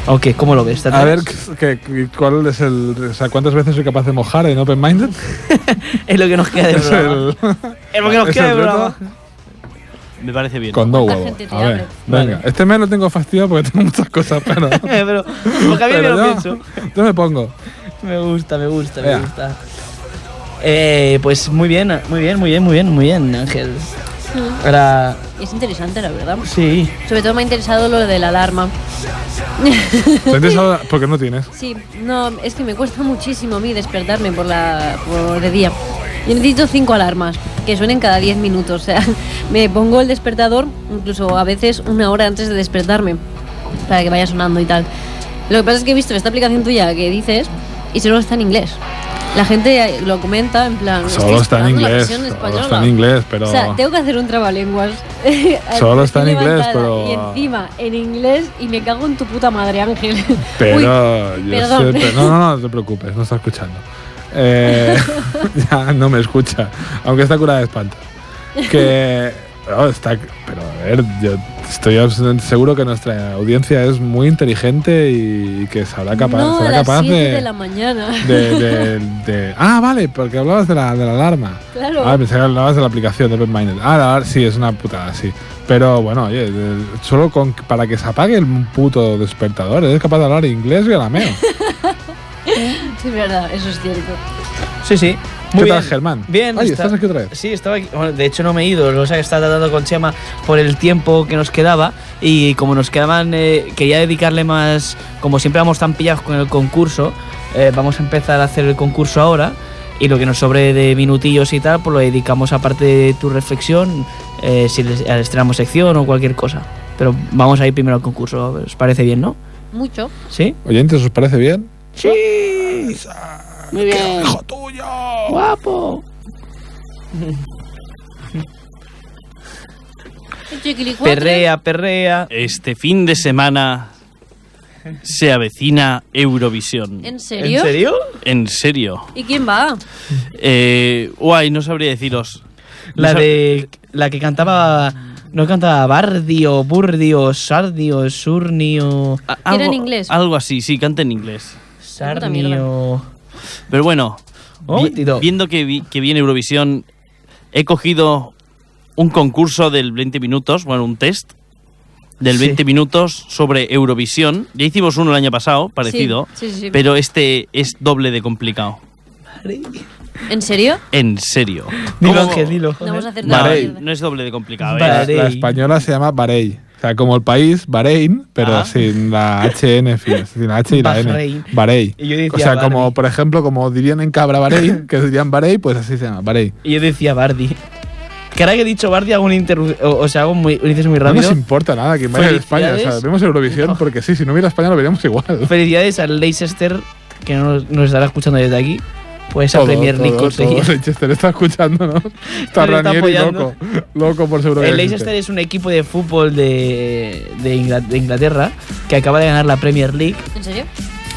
Speaker 1: Ok, ¿cómo lo ves? ¿Te
Speaker 3: A ver,
Speaker 1: atreves?
Speaker 3: ¿qué- qué- ¿cuál es el, o sea, ¿cuántas veces soy capaz de mojar en Open Minded?
Speaker 1: Es lo que nos queda de
Speaker 3: Es
Speaker 1: programa.
Speaker 3: el,
Speaker 1: Es lo que nos
Speaker 3: es
Speaker 1: queda de
Speaker 3: el reto.
Speaker 1: programa.
Speaker 4: Me parece bien.
Speaker 3: Con dos
Speaker 2: ¿Cuánta
Speaker 3: huevos.
Speaker 2: gente te
Speaker 3: A ver,
Speaker 2: abre?
Speaker 3: venga.
Speaker 1: Vale.
Speaker 3: Este mes lo tengo fastidiado porque tengo muchas cosas, pero.
Speaker 1: Eh, Pero, porque a mí me
Speaker 3: pero
Speaker 1: lo
Speaker 3: yo-
Speaker 1: pienso.
Speaker 3: Yo me pongo.
Speaker 1: Me gusta, me gusta, me
Speaker 3: Vea.
Speaker 1: gusta. Eh, pues muy bien, muy bien, muy bien, muy bien, muy bien, Ángel. Ahora,
Speaker 2: Y es interesante, la verdad.
Speaker 1: sí.
Speaker 2: Sobre todo me ha interesado lo de la alarma.
Speaker 3: ¿Sientes ahora? Porque no tienes.
Speaker 2: Sí, no, es que me cuesta muchísimo a mí despertarme por la por de día. Yo necesito cinco alarmas que suenen cada 10 minutos. O sea, me pongo el despertador incluso a veces una hora antes de despertarme para que vaya sonando y tal. Lo que pasa es que he visto esta aplicación tuya que dices y solo está en inglés. La gente lo comenta en plan.
Speaker 3: Solo
Speaker 2: "Estoy
Speaker 3: está en
Speaker 2: esperando la
Speaker 3: inglés.
Speaker 2: versión
Speaker 3: Solo
Speaker 2: española".
Speaker 3: está en inglés, pero.
Speaker 2: O sea, tengo que hacer un trabalenguas. Al-
Speaker 3: Solo está en
Speaker 2: estoy
Speaker 3: inglés,
Speaker 2: levantada
Speaker 3: pero-
Speaker 2: Y encima, en inglés, y me cago en tu puta madre, Ángel. Uy,
Speaker 3: Pero. yo
Speaker 2: perdón.
Speaker 3: sé- pero- no, no, no te preocupes, no está escuchando. Eh, ya no me escucha, aunque está curada de espanto. Que. no, está, pero a ver, yo estoy absolutamente seguro que nuestra audiencia es muy inteligente y que sabrá capaz,
Speaker 2: no,
Speaker 3: será
Speaker 2: a las
Speaker 3: capaz
Speaker 2: 7 de...
Speaker 3: de.
Speaker 2: la mañana.
Speaker 3: De, de- de- ah, vale, porque hablabas de la, de la alarma.
Speaker 2: Claro.
Speaker 3: Ah, pensé que hablabas de la aplicación de OpenMinded. Ah, la alar- sí, es una putada, sí. Pero bueno, oye, de- solo con, para que se apague el puto despertador, eres capaz de hablar inglés y arameo.
Speaker 2: Sí, es verdad, eso es cierto.
Speaker 1: Sí, sí.
Speaker 3: ¿Qué
Speaker 1: Muy
Speaker 3: tal,
Speaker 1: bien.
Speaker 3: Germán?
Speaker 1: Bien,
Speaker 3: Ay,
Speaker 1: está-
Speaker 3: ¿estás aquí otra vez?
Speaker 1: Sí, estaba aquí. Bueno, de hecho no me he ido, o sea, estaba tratando con Chema por el tiempo que nos quedaba y como nos quedaban, eh, quería dedicarle más, como siempre vamos tan pillados con el concurso, eh, vamos a empezar a hacer el concurso ahora y lo que nos sobre de minutillos y tal, pues lo dedicamos aparte de tu reflexión, eh, si les, al estrenamos sección o cualquier cosa. Pero vamos a ir primero al concurso, ¿os parece bien, no?
Speaker 2: Mucho.
Speaker 1: ¿Sí?
Speaker 3: Oyentes, ¿os parece bien?
Speaker 1: Sí. Muy bien.
Speaker 3: ¡Hijo tuyo!
Speaker 1: Guapo.
Speaker 2: Chiquilicuatre.
Speaker 1: Perrea, perrea.
Speaker 4: Este fin de semana se avecina Eurovisión.
Speaker 2: ¿En
Speaker 1: ¿En
Speaker 2: serio?
Speaker 1: serio?
Speaker 4: En serio.
Speaker 2: ¿Y quién va?
Speaker 4: Eh, guay, no sabría deciros. No
Speaker 1: La
Speaker 4: sab-
Speaker 1: de. La que cantaba. No cantaba Bardi o Burdi o Sardi o Surni o.
Speaker 4: A-
Speaker 2: Era en
Speaker 4: algo-
Speaker 2: inglés.
Speaker 4: Algo así, sí, canta en inglés.
Speaker 1: Sarni
Speaker 2: mierda.
Speaker 1: o. Oh,
Speaker 4: Pero bueno,
Speaker 1: Un
Speaker 4: vi-
Speaker 1: momentito.
Speaker 4: viendo que, vi- que viene Eurovisión, he cogido un concurso del 20 minutos, bueno, un test del
Speaker 1: Sí.
Speaker 4: 20 minutos sobre Eurovisión. Ya hicimos uno el año pasado, parecido,
Speaker 2: Sí, sí, sí.
Speaker 4: pero este es doble de complicado.
Speaker 2: ¿En serio?
Speaker 4: En serio.
Speaker 1: Dilo,
Speaker 4: ¿Cómo-
Speaker 1: Ángel, dilo.
Speaker 2: No vamos a hacer
Speaker 4: No,
Speaker 2: nada.
Speaker 3: Vale.
Speaker 4: no es doble de complicado. ¿eh?
Speaker 1: Vale.
Speaker 3: La, la española se llama Bahrein. O sea, como el país, Bahrein, pero
Speaker 4: Ah.
Speaker 3: sin la HN, fin, sin la H y la N.
Speaker 1: Bahrein.
Speaker 3: Bahrein.
Speaker 1: Y yo decía
Speaker 3: O sea, como,
Speaker 1: Bahrein.
Speaker 3: por ejemplo, como dirían en Cabra Bahrein, que dirían Bahrein, pues así se llama, Bahrein.
Speaker 1: Y yo decía Bardi. Que ahora que he dicho Bardi hago un interru- o, o sea, hago muy, un inciso muy
Speaker 3: No
Speaker 1: rápido.
Speaker 3: nos importa nada que vaya a España. O sea,
Speaker 1: Felicidades.
Speaker 3: vemos Eurovisión porque sí, si no hubiera España lo veríamos igual.
Speaker 1: Felicidades al Leicester, que nos, nos estará escuchando desde aquí. Pues esa
Speaker 3: Todo,
Speaker 1: Premier League
Speaker 3: todo, todo.
Speaker 1: conseguida.
Speaker 3: Leicester está escuchándonos.
Speaker 1: Pero está
Speaker 3: Está Ranieri
Speaker 1: apoyando.
Speaker 3: loco. Loco por seguro que
Speaker 1: El
Speaker 3: existe.
Speaker 1: Leicester es un equipo de fútbol de, de Ingla- de Inglaterra que acaba de ganar la Premier League.
Speaker 2: ¿En serio?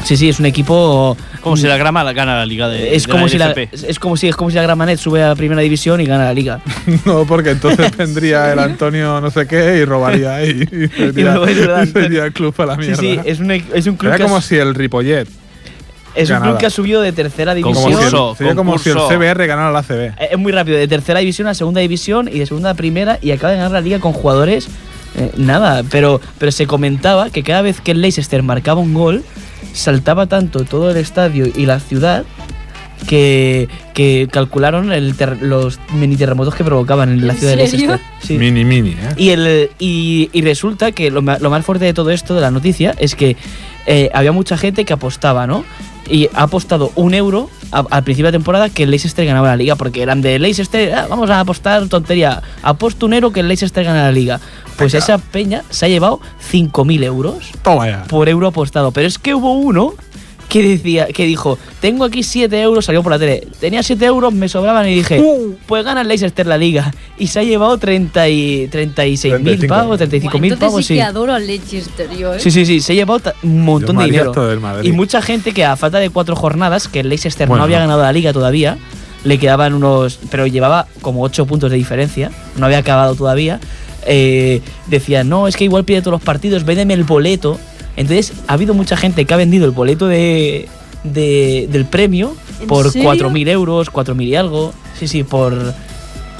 Speaker 1: Sí, sí, es un equipo. eh,
Speaker 4: Como si la grama la gana la liga de.
Speaker 1: Es
Speaker 4: de
Speaker 1: como,
Speaker 4: la
Speaker 1: si la,
Speaker 4: LFP.
Speaker 1: es, como si, es como si la Gramanet sube a la primera división y gana la liga.
Speaker 3: No, porque entonces vendría el Antonio no sé qué y robaría y, y se iría-
Speaker 1: luego es verdad.
Speaker 3: y se iría el club a la
Speaker 1: Sí,
Speaker 3: mierda.
Speaker 1: sí, es un, e- es un club,
Speaker 3: Era
Speaker 1: que ha,
Speaker 3: como si el Ripollet,
Speaker 1: es un club
Speaker 3: ganara.
Speaker 1: que ha subido de tercera
Speaker 4: Como
Speaker 1: división.
Speaker 3: como si el,
Speaker 4: Concurso,
Speaker 3: sería como si el
Speaker 4: concurso.
Speaker 3: CBR ganara la CB.
Speaker 1: Eh, Es muy rápido, de tercera división a segunda división y de segunda a primera y acaba de ganar la liga con jugadores. eh, nada, pero, pero se comentaba que cada vez que el Leicester marcaba un gol, saltaba tanto todo el estadio y la ciudad que, que calcularon el ter- los mini terremotos que provocaban en la
Speaker 2: ¿En
Speaker 1: ciudad de
Speaker 2: serio?
Speaker 1: Leicester. Sí.
Speaker 3: Mini, mini, ¿eh?
Speaker 1: Y, el, y, y resulta que lo, ma- lo más fuerte de todo esto, de la noticia, es que eh, había mucha gente que apostaba, ¿no? Y ha apostado un euro a- al principio de temporada que el Leicester ganaba la liga, porque eran de Leicester, "Ah, vamos a apostar tontería, aposto un euro que el Leicester gana la liga. Pues
Speaker 3: Venga.
Speaker 1: esa peña se ha llevado 5.000 euros
Speaker 3: Toma ya.
Speaker 1: por euro apostado. Pero es que hubo uno que decía, que dijo, tengo aquí 7 euros, salió por la tele, tenía 7 euros, me sobraban y dije, pues gana el Leicester la liga. Y se ha llevado 30 y, 36 mil
Speaker 3: 35.000.
Speaker 1: pavos, 35 mil
Speaker 2: Entonces
Speaker 1: pavos,
Speaker 2: sí
Speaker 1: sí.
Speaker 2: que adoro al Leicester yo, ¿eh?
Speaker 1: Sí, sí, sí, se ha llevado ta- un montón
Speaker 3: Yo me
Speaker 1: de
Speaker 3: haría
Speaker 1: dinero.
Speaker 3: esto del Madrid.
Speaker 1: Y mucha gente que a falta de cuatro jornadas, que el Leicester
Speaker 3: Bueno.
Speaker 1: no había ganado la liga todavía, le quedaban unos. Pero llevaba como ocho puntos de diferencia, no había acabado todavía. eh, decía, no, es que igual pide todos los partidos, véndeme el boleto. Entonces, ha habido mucha gente que ha vendido el boleto de, de- del premio
Speaker 2: ¿En
Speaker 1: por
Speaker 2: serio?
Speaker 1: 4.000 euros, 4.000 y algo. Sí, sí, por.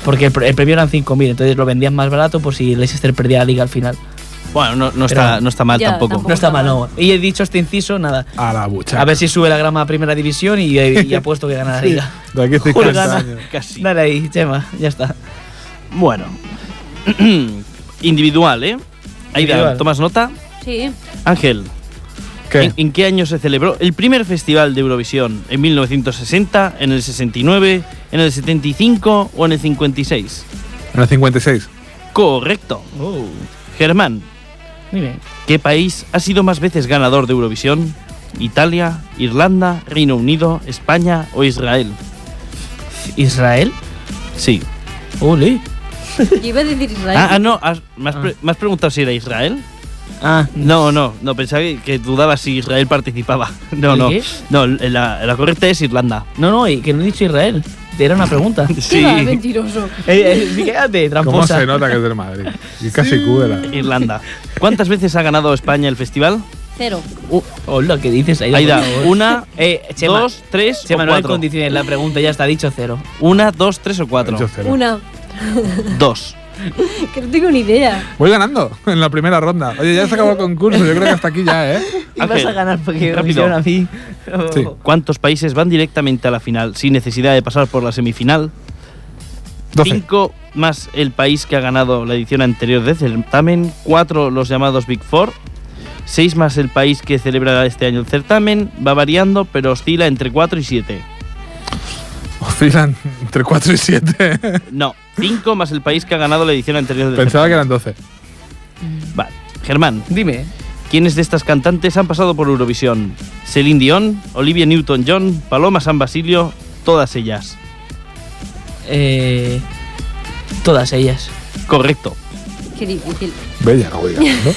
Speaker 1: Porque el, pre- el premio eran 5.000, entonces lo vendían más barato por si el Leicester perdía la liga al final.
Speaker 4: Bueno, no, no está,
Speaker 1: Pero-
Speaker 4: no está mal
Speaker 2: Ya,
Speaker 4: tampoco.
Speaker 2: tampoco.
Speaker 1: No está mal, no. Y he dicho este inciso, nada.
Speaker 3: A la bucha.
Speaker 1: A ver si sube la grama a primera división y, eh, y apuesto que gana la liga.
Speaker 3: De aquí a 50
Speaker 1: Joder, gana.
Speaker 3: años.
Speaker 4: Casi.
Speaker 1: Dale ahí, Chema, ya está.
Speaker 4: Bueno. Individual, ¿eh? Ahí
Speaker 1: Individual.
Speaker 4: ¿tomas nota?
Speaker 2: Sí.
Speaker 4: Ángel, ¿en,
Speaker 3: ¿Qué?
Speaker 4: en qué año se celebró el primer festival de Eurovisión? ¿En 1960, en el 69, en el 75 o en el 56?
Speaker 3: En el 56.
Speaker 4: Correcto.
Speaker 1: Oh.
Speaker 4: Germán,
Speaker 1: Dime.
Speaker 4: ¿qué país ha sido más veces ganador de Eurovisión? ¿Italia, Irlanda, Reino Unido, España o Israel?
Speaker 1: ¿Israel?
Speaker 4: Sí.
Speaker 1: Uli.
Speaker 2: Yo iba a decir Israel.
Speaker 4: Ah, ah, no, has- me, has
Speaker 1: Ah.
Speaker 4: pre- me has preguntado si era Israel.
Speaker 1: Ah,
Speaker 4: No, no, no, pensaba que, que dudaba si Israel participaba. No,
Speaker 1: ¿El
Speaker 4: no.
Speaker 1: qué?
Speaker 4: No, la, la correcta es Irlanda.
Speaker 1: no, no, y que no he dicho Israel. Era una pregunta.
Speaker 2: ¿Qué va, mentiroso.
Speaker 1: Eh, eh, sí, quédate,
Speaker 3: ¿Cómo
Speaker 1: tramposa.
Speaker 3: se nota que es del Madrid? Y casi cúbela.
Speaker 4: Irlanda. ¿Cuántas veces ha ganado España el festival?
Speaker 2: Cero.
Speaker 1: Uh, hola, ¿qué dices? Aida,
Speaker 4: Aida,
Speaker 1: por favor.
Speaker 4: una,
Speaker 1: Eh, Chema,
Speaker 4: dos, tres
Speaker 1: Chema,
Speaker 4: o
Speaker 1: no hay
Speaker 4: cuatro.
Speaker 1: condiciones. La pregunta ya está dicho cero.
Speaker 4: una, dos, tres o cuatro.
Speaker 3: Ocho cero.
Speaker 2: Una.
Speaker 4: Dos.
Speaker 2: Que no tengo ni idea.
Speaker 3: Voy ganando en la primera ronda. Oye, ya se acabó el concurso. Yo creo que hasta aquí ya, ¿eh?
Speaker 1: Y vas
Speaker 4: Ángel,
Speaker 1: a ganar porque me
Speaker 4: rápido.
Speaker 1: hicieron a mí.
Speaker 3: Sí.
Speaker 4: ¿Cuántos países van directamente a la final sin necesidad de pasar por la semifinal?
Speaker 3: 12.
Speaker 4: Cinco más el país que ha ganado la edición anterior de certamen. Cuatro los llamados Big Four. Seis más el país que celebra este año el certamen. Va variando, pero oscila entre cuatro y siete.
Speaker 3: Oscilan entre 4 y 7.
Speaker 4: No, cinco más el país que ha ganado la edición anterior del
Speaker 3: Pensaba que eran 12.
Speaker 4: certamen. Vale. Germán,
Speaker 1: Dime.
Speaker 4: ¿Quiénes de estas cantantes han pasado por Eurovisión? Celine Dion, Olivia Newton-John, Paloma San Basilio, todas ellas.
Speaker 1: Eh, todas ellas.
Speaker 4: Correcto.
Speaker 2: Qué difícil.
Speaker 3: Bella, no voy ganando.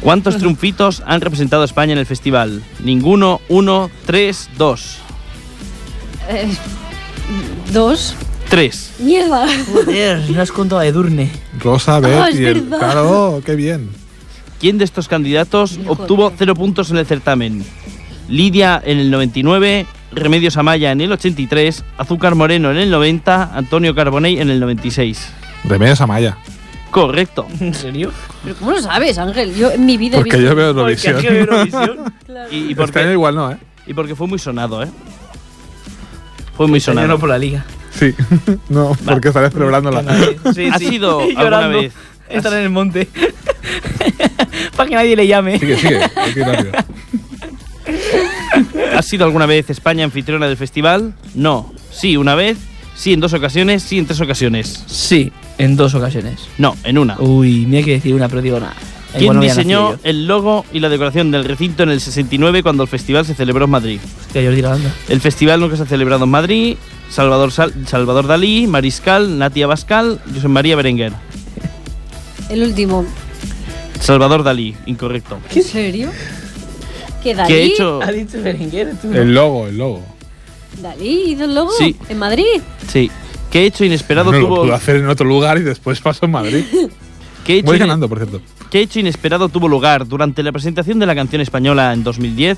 Speaker 4: ¿Cuántos triunfitos han representado a España en el festival? Ninguno, uno, tres, dos.
Speaker 2: Eh, dos.
Speaker 4: Tres.
Speaker 2: Mierda.
Speaker 1: Joder, no has contado a Edurne.
Speaker 3: Rosa, Beth
Speaker 2: Ah, es
Speaker 3: y el...
Speaker 2: verdad.
Speaker 3: Claro, qué bien.
Speaker 4: ¿Quién de estos candidatos
Speaker 2: Hijo
Speaker 4: obtuvo
Speaker 2: de-
Speaker 4: cero puntos en el certamen? Lidia en el 99, Remedios Amaya en el 83, Azúcar Moreno en el 90, Antonio Carbonell en el 96.
Speaker 3: Remedios Amaya.
Speaker 4: Correcto.
Speaker 1: ¿En serio?
Speaker 2: Pero ¿Cómo lo sabes, Ángel? Yo en mi vida he
Speaker 3: Porque
Speaker 2: visto-
Speaker 3: yo veo Eurovisión.
Speaker 1: Porque aquí hay Eurovisión.
Speaker 4: Y, y
Speaker 3: Este año
Speaker 4: porque,
Speaker 3: igual no, ¿eh?
Speaker 4: y porque fue muy sonado, ¿eh? Fue muy
Speaker 1: Se llenó
Speaker 4: sonado.
Speaker 1: por la liga.
Speaker 3: Sí. no, porque estaré celebrándola.
Speaker 1: Sí,
Speaker 4: ¿Ha
Speaker 1: sí.
Speaker 4: sido
Speaker 1: Y
Speaker 4: alguna
Speaker 1: llorando.
Speaker 4: vez?
Speaker 1: Estar en el monte. Para que nadie le llame.
Speaker 3: Sigue, sigue. hay que ir rápido.
Speaker 4: ¿Ha sido alguna vez España anfitriona del festival? No. Sí, una vez. Sí, en dos ocasiones. Sí, en tres ocasiones.
Speaker 1: Sí, en dos ocasiones.
Speaker 4: No, en una.
Speaker 1: Uy, mira que decir una, pero digo nada.
Speaker 4: ¿Quién diseñó el logo y la decoración del recinto en el 69 cuando el festival se celebró en Madrid?
Speaker 1: Que Jordi Lavanda.
Speaker 4: El festival nunca se ha celebrado en Madrid. Salvador, Sal- Salvador Dalí, Mariscal, Natia Bascal, José María Berenguer.
Speaker 2: El último.
Speaker 4: Salvador Dalí, incorrecto.
Speaker 2: ¿En serio? ¿Que Dalí,
Speaker 4: ¿Qué he hecho?
Speaker 1: Ha dicho Berenguer, tú.
Speaker 3: El logo, el logo.
Speaker 2: Dalí hizo el logo
Speaker 4: Sí.
Speaker 2: en Madrid?
Speaker 4: Sí. ¿Qué hecho inesperado
Speaker 3: Bueno, lo
Speaker 4: tuvo?
Speaker 3: pudo hacer en otro lugar y después pasó en Madrid.
Speaker 4: ¿Qué hecho
Speaker 3: Voy
Speaker 4: ine-
Speaker 3: ganando, por cierto.
Speaker 4: ¿Qué hecho inesperado tuvo lugar durante la presentación de la canción española en 2010?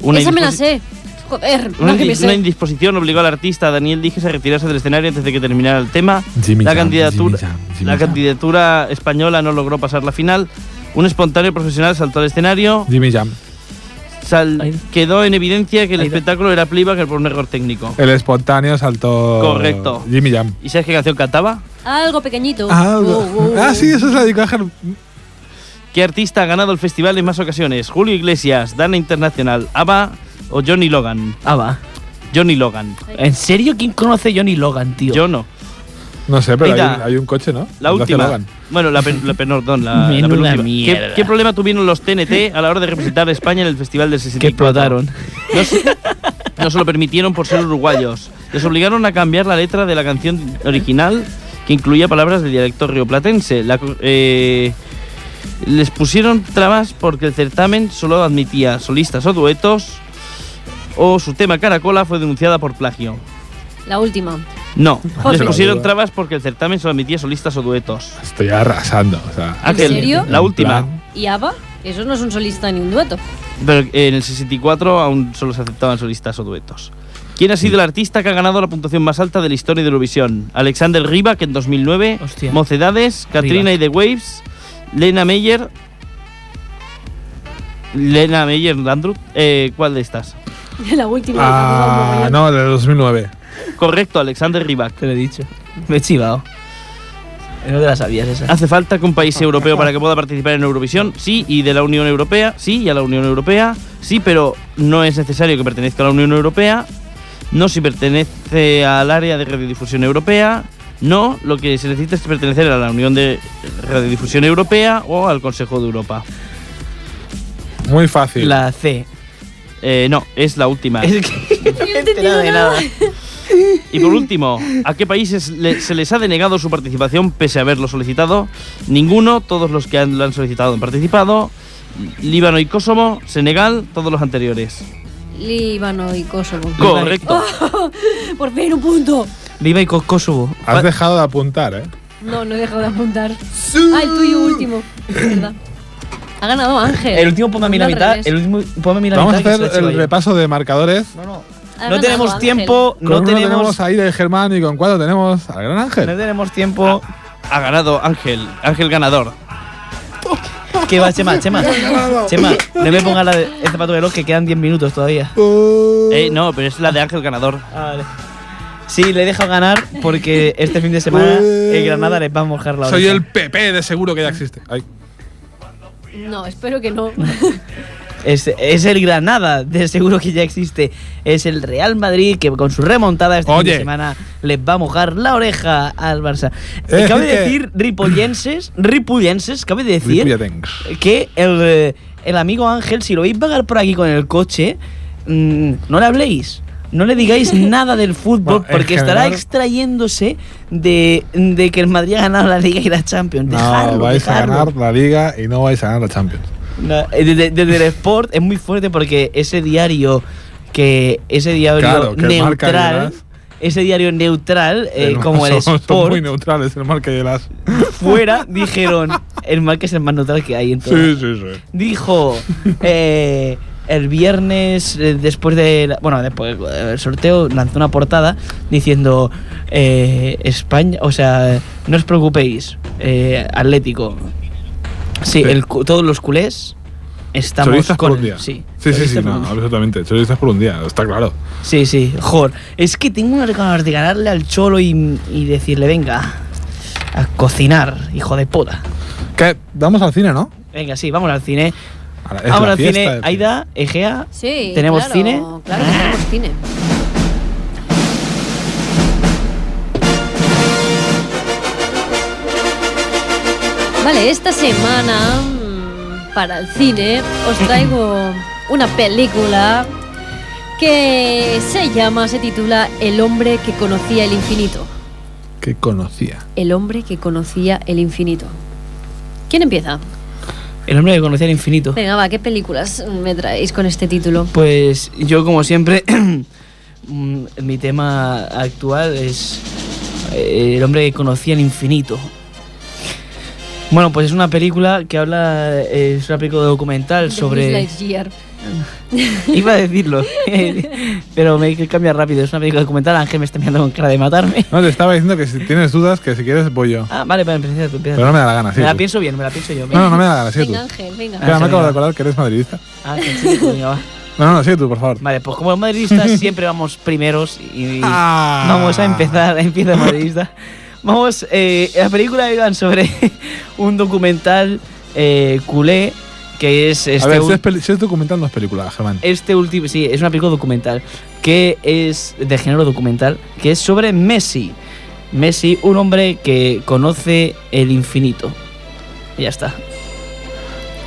Speaker 4: Una
Speaker 2: Esa me la
Speaker 4: indisposi-
Speaker 2: sé. Joder,
Speaker 4: Una,
Speaker 2: no que me
Speaker 4: indi- una
Speaker 2: sé.
Speaker 4: indisposición obligó al artista Daniel Díez a retirarse del escenario antes de que terminara el tema.
Speaker 3: Jimmy
Speaker 4: la
Speaker 3: Jam,
Speaker 4: candidatura,
Speaker 3: Jimmy Jam, Jimmy
Speaker 4: la
Speaker 3: Jam.
Speaker 4: candidatura española no logró pasar la final. Un espontáneo profesional saltó al escenario.
Speaker 3: Jimmy Jam.
Speaker 4: Sal-
Speaker 1: Ahí.
Speaker 4: quedó en evidencia que el
Speaker 1: Ahí va.
Speaker 4: espectáculo era playback por un error técnico.
Speaker 3: El espontáneo saltó.
Speaker 4: Correcto.
Speaker 3: Jimmy Jam.
Speaker 4: ¿Y sabes qué canción cantaba?
Speaker 2: Algo pequeñito.
Speaker 3: Ah,
Speaker 2: Oh, oh,
Speaker 3: ah,
Speaker 2: oh.
Speaker 3: sí, eso es la de Cájer.
Speaker 4: ¿Qué artista ha ganado el festival en más ocasiones? Julio Iglesias, Dana Internacional, ABBA o Johnny Logan.
Speaker 1: Ah, va.
Speaker 4: Johnny Logan.
Speaker 1: ¿En serio quién conoce a Johnny Logan, tío?
Speaker 4: Yo no.
Speaker 3: No sé, pero
Speaker 4: Ahí
Speaker 3: hay,
Speaker 4: está.
Speaker 3: un- hay un coche, ¿no?
Speaker 4: La
Speaker 3: Lo hace
Speaker 4: última.
Speaker 3: Logan.
Speaker 4: Bueno, la, pen- la pen- perdón, la, la
Speaker 1: Menuda
Speaker 4: penúltima. ¿Qué,
Speaker 1: mierda.
Speaker 4: qué problema tuvieron los TNT a la hora de representar a España en el Festival del 64?
Speaker 1: que explotaron.
Speaker 4: No se, no se lo permitieron por ser uruguayos. Les obligaron a cambiar la letra de la canción original, que incluía palabras del dialecto rioplatense. La co- eh, les pusieron trabas porque el certamen solo admitía solistas o duetos, o su tema Caracola fue denunciada por plagio.
Speaker 2: La última.
Speaker 4: No,
Speaker 2: Joder.
Speaker 4: les pusieron
Speaker 3: Joder.
Speaker 4: trabas porque el certamen solo admitía solistas o duetos.
Speaker 3: Estoy arrasando. O sea,
Speaker 4: Ángel,
Speaker 2: serio?
Speaker 4: La
Speaker 3: En
Speaker 4: última.
Speaker 3: plan-
Speaker 2: ¿Y ABBA? Eso no es un solista ni un dueto.
Speaker 4: Pero en el 64 aún solo se aceptaban solistas o duetos. ¿Quién ha sido el artista que ha ganado la puntuación más alta de la historia de Eurovisión? Alexander Rybak en 2009,
Speaker 1: Hostia.
Speaker 4: Mocedades, Katrina y The Waves, Lena Meyer. Lena Meyer, Landrut. Eh, ¿Cuál de estas?
Speaker 2: la última.
Speaker 3: Ah, no, de 2009.
Speaker 4: Correcto, Alexander Rybak.
Speaker 1: Te lo he dicho. Me he chivado. No te la sabías
Speaker 3: Ah,
Speaker 1: esa.
Speaker 4: ¿Hace falta que un país europeo para que pueda participar en Eurovisión? Sí, y de la Unión Europea, sí, y a la Unión Europea, sí, pero no es necesario que pertenezca a la Unión Europea, no si pertenece al área de radiodifusión europea, no, lo que se necesita es pertenecer a la Unión de Radiodifusión Europea o al Consejo de Europa.
Speaker 3: Muy fácil.
Speaker 1: La C.
Speaker 4: Eh, no, es la
Speaker 3: Ah.
Speaker 4: última.
Speaker 1: Es que no me he enterado de nada.
Speaker 4: Y por último, ¿a qué países le- se les ha denegado su participación pese a haberlo solicitado? Ninguno, todos los que han, lo han solicitado han participado. Líbano y Kosovo, Senegal, todos los anteriores.
Speaker 2: Líbano y Kosovo. Ah,
Speaker 1: Co-
Speaker 4: Correcto.
Speaker 2: Por fin un punto.
Speaker 1: Viva y Co- Kosovo.
Speaker 3: Has dejado de apuntar, ¿eh?
Speaker 2: No, no he dejado de apuntar. Ah, el tuyo último. Es verdad. Ha ganado Ángel.
Speaker 1: El último ponme a mí la
Speaker 2: Al
Speaker 1: mitad.
Speaker 2: revés.
Speaker 1: El último ponme a mí la
Speaker 3: Vamos a
Speaker 1: mitad. que
Speaker 3: hacer
Speaker 1: se la
Speaker 3: el
Speaker 1: chiva yo.
Speaker 3: repaso de marcadores. No,
Speaker 2: Ha
Speaker 1: Ah, No
Speaker 2: ganado
Speaker 1: tenemos
Speaker 2: Ángel.
Speaker 1: tiempo.
Speaker 3: Con
Speaker 1: No
Speaker 3: uno
Speaker 1: tenemos,
Speaker 3: a Aire Germán y con cuatro tenemos al Gran
Speaker 1: no
Speaker 3: Ángel.
Speaker 1: tenemos tiempo.
Speaker 4: Ha ganado Ángel, Ángel ganador.
Speaker 1: Que va, Chema, Chema. Chema, no me pongas la de este pato de reloj que quedan 10 minutos todavía.
Speaker 3: Oh.
Speaker 4: Eh, no, pero es la de Ángel ganador.
Speaker 1: Ah, vale. Sí, le he dejado ganar porque este fin de semana el Granada les va a mojar la
Speaker 3: Pues Soy
Speaker 1: oreja.
Speaker 3: el PP de seguro que ya existe. Ay,
Speaker 2: No, espero que no.
Speaker 1: Es, es el Granada, de seguro que ya existe. Es el Real Madrid que con su remontada este fin
Speaker 3: Oye.
Speaker 1: de semana les va a mojar la oreja al Barça.
Speaker 3: Eh,
Speaker 1: cabe
Speaker 3: que-
Speaker 1: decir, ripollenses, ripullenses, cabe decir
Speaker 3: Ripullatengs.
Speaker 1: que el, eh, el amigo Ángel, si lo veis vagar por aquí con el coche, mm, no le habléis. No le digáis nada del fútbol
Speaker 3: Bueno, en
Speaker 1: porque estará
Speaker 3: general-
Speaker 1: extrayéndose de, de que el Madrid ha ganado la Liga y la Champions.
Speaker 3: No,
Speaker 1: Dejadlo,
Speaker 3: vais a
Speaker 1: dejadlo.
Speaker 3: ganar la Liga y no vais a ganar la Champions.
Speaker 1: Na- eh, Desde, desde el Sport es muy fuerte porque ese diario que ese diario
Speaker 3: Claro, que marca y
Speaker 1: neutral,
Speaker 3: verás.
Speaker 1: ese diario neutral eh,
Speaker 3: No,
Speaker 1: como el
Speaker 3: son- son
Speaker 1: Sport
Speaker 3: muy neutrales el marca y el as.
Speaker 1: fuera dijeron el mal que es el más neutral que hay en todo.
Speaker 3: Sí, sí, sí.
Speaker 1: Dijo eh, el viernes eh, después de la- bueno después del sorteo lanzó una portada diciendo eh, España, o sea no os preocupéis eh, Atlético, sí,
Speaker 3: Sí.
Speaker 1: el cu- todos los culés estamos
Speaker 3: Chorizas
Speaker 1: con
Speaker 3: por
Speaker 1: el-
Speaker 3: un día.
Speaker 1: sí
Speaker 3: sí, sí,
Speaker 1: chorizas
Speaker 3: sí,
Speaker 1: por
Speaker 3: no,
Speaker 1: un día.
Speaker 3: absolutamente. Chorizas por un día, está claro.
Speaker 1: Sí, sí, jor. Es que tengo unas ganas de ganarle al cholo y, y decirle, venga, a cocinar, hijo de puta.
Speaker 3: ¿Qué? Vamos al cine, ¿no?
Speaker 1: Venga, sí, vamos al cine.
Speaker 3: Ahora, es
Speaker 1: Vamos
Speaker 3: la
Speaker 1: al
Speaker 3: fiesta
Speaker 1: cine,
Speaker 3: del
Speaker 1: Aida, Egea.
Speaker 2: Sí,
Speaker 1: ¿Tenemos
Speaker 2: claro,
Speaker 1: cine?
Speaker 2: Claro, que tenemos cine. Vale, esta semana mm, para el cine os traigo una película que se llama, se titula El hombre que conocía el infinito.
Speaker 3: Que conocía.
Speaker 2: El hombre que conocía el infinito. ¿Quién empieza?
Speaker 1: El hombre que conocía el infinito.
Speaker 2: Venga, va, ¿qué películas me traéis con este título?
Speaker 1: Pues yo, como siempre, mm, mi tema actual es eh, El hombre que conocía el infinito. Bueno, pues es una película que habla, eh, es una película documental
Speaker 2: De
Speaker 1: sobre...
Speaker 2: Buzz Lightyear.
Speaker 1: Iba a decirlo, pero me cambia rápido. Es una película documental. Ángel me está mirando con cara de matarme.
Speaker 3: No, te estaba diciendo que si tienes dudas, que si quieres voy yo.
Speaker 1: Ah, vale, vale, empieza tú, empieza
Speaker 3: Pero no me da la gana,
Speaker 1: tú.
Speaker 3: sí.
Speaker 1: Me la
Speaker 3: tú.
Speaker 1: pienso bien, me la pienso yo.
Speaker 3: No, no, no me da la gana, sí, tú.
Speaker 2: Venga, Ángel, venga.
Speaker 1: Ah,
Speaker 3: Espera, me acabo de
Speaker 1: venga.
Speaker 3: acordar que eres madridista.
Speaker 1: Ah, que sí, coño, va.
Speaker 3: No, no, no, sí, tú, por favor.
Speaker 1: Vale, pues como los madridistas siempre vamos primeros y
Speaker 3: Ah.
Speaker 1: vamos a empezar, empieza el madridista. Vamos, eh, la película iban sobre un documental eh, culé que es este
Speaker 3: a ver,
Speaker 1: un-
Speaker 3: si es, peli- si es documental, no es película, Germán.
Speaker 1: este último, sí, es una película documental, que es de género documental, que es sobre Messi. Messi, un hombre que conoce el infinito. Y ya está.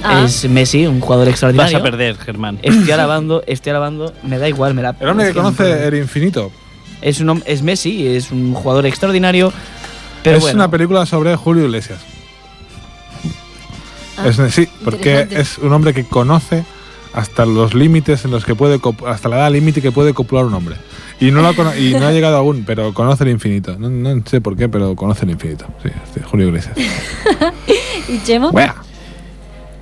Speaker 2: Ah,
Speaker 1: Es Messi, un jugador
Speaker 4: Vas
Speaker 1: extraordinario.
Speaker 4: a perder, Germán.
Speaker 1: Estoy alabando, estoy alabando, me da igual, me la
Speaker 3: El hombre
Speaker 1: es
Speaker 3: que
Speaker 1: no
Speaker 3: conoce
Speaker 1: puedo.
Speaker 3: el infinito.
Speaker 1: es, un, hom- es Messi, es un jugador extraordinario. Pero
Speaker 3: es
Speaker 1: bueno,
Speaker 3: una película sobre Julio Iglesias.
Speaker 2: ah.
Speaker 3: Es- sí, porque
Speaker 2: interesante.
Speaker 3: es un hombre que conoce hasta los límites en los que puede cop- hasta la edad límite que puede copular un hombre. Y no, lo ha cono- y no ha llegado aún, pero conoce el infinito. No, no sé por qué, pero conoce el infinito. Sí, este, Julio Iglesias.
Speaker 2: ¿Y Chemo?
Speaker 3: Bueno,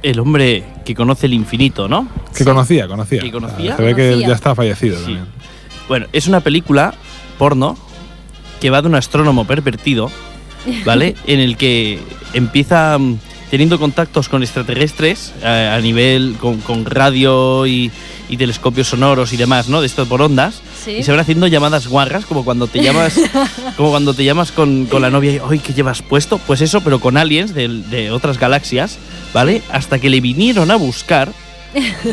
Speaker 4: El hombre que conoce el infinito, ¿no?
Speaker 3: que conocía, conocía. Ah,
Speaker 4: Que conocía.
Speaker 3: se ve que
Speaker 2: Conocía.
Speaker 3: ya está fallecido
Speaker 4: Sí.
Speaker 3: también.
Speaker 4: Bueno, es una película porno que va de un astrónomo pervertido, ¿vale? en el que empieza mm, teniendo contactos con extraterrestres eh, a, nivel con, con radio y, y telescopios sonoros y demás, ¿no? De esto por ondas.
Speaker 2: Sí.
Speaker 4: Y se van haciendo llamadas guarras, como cuando te llamas, como cuando te llamas con, con la novia y, ¡ay, qué llevas puesto! Pues eso, pero con aliens del- de, otras galaxias, ¿vale? Hasta que le vinieron a buscar,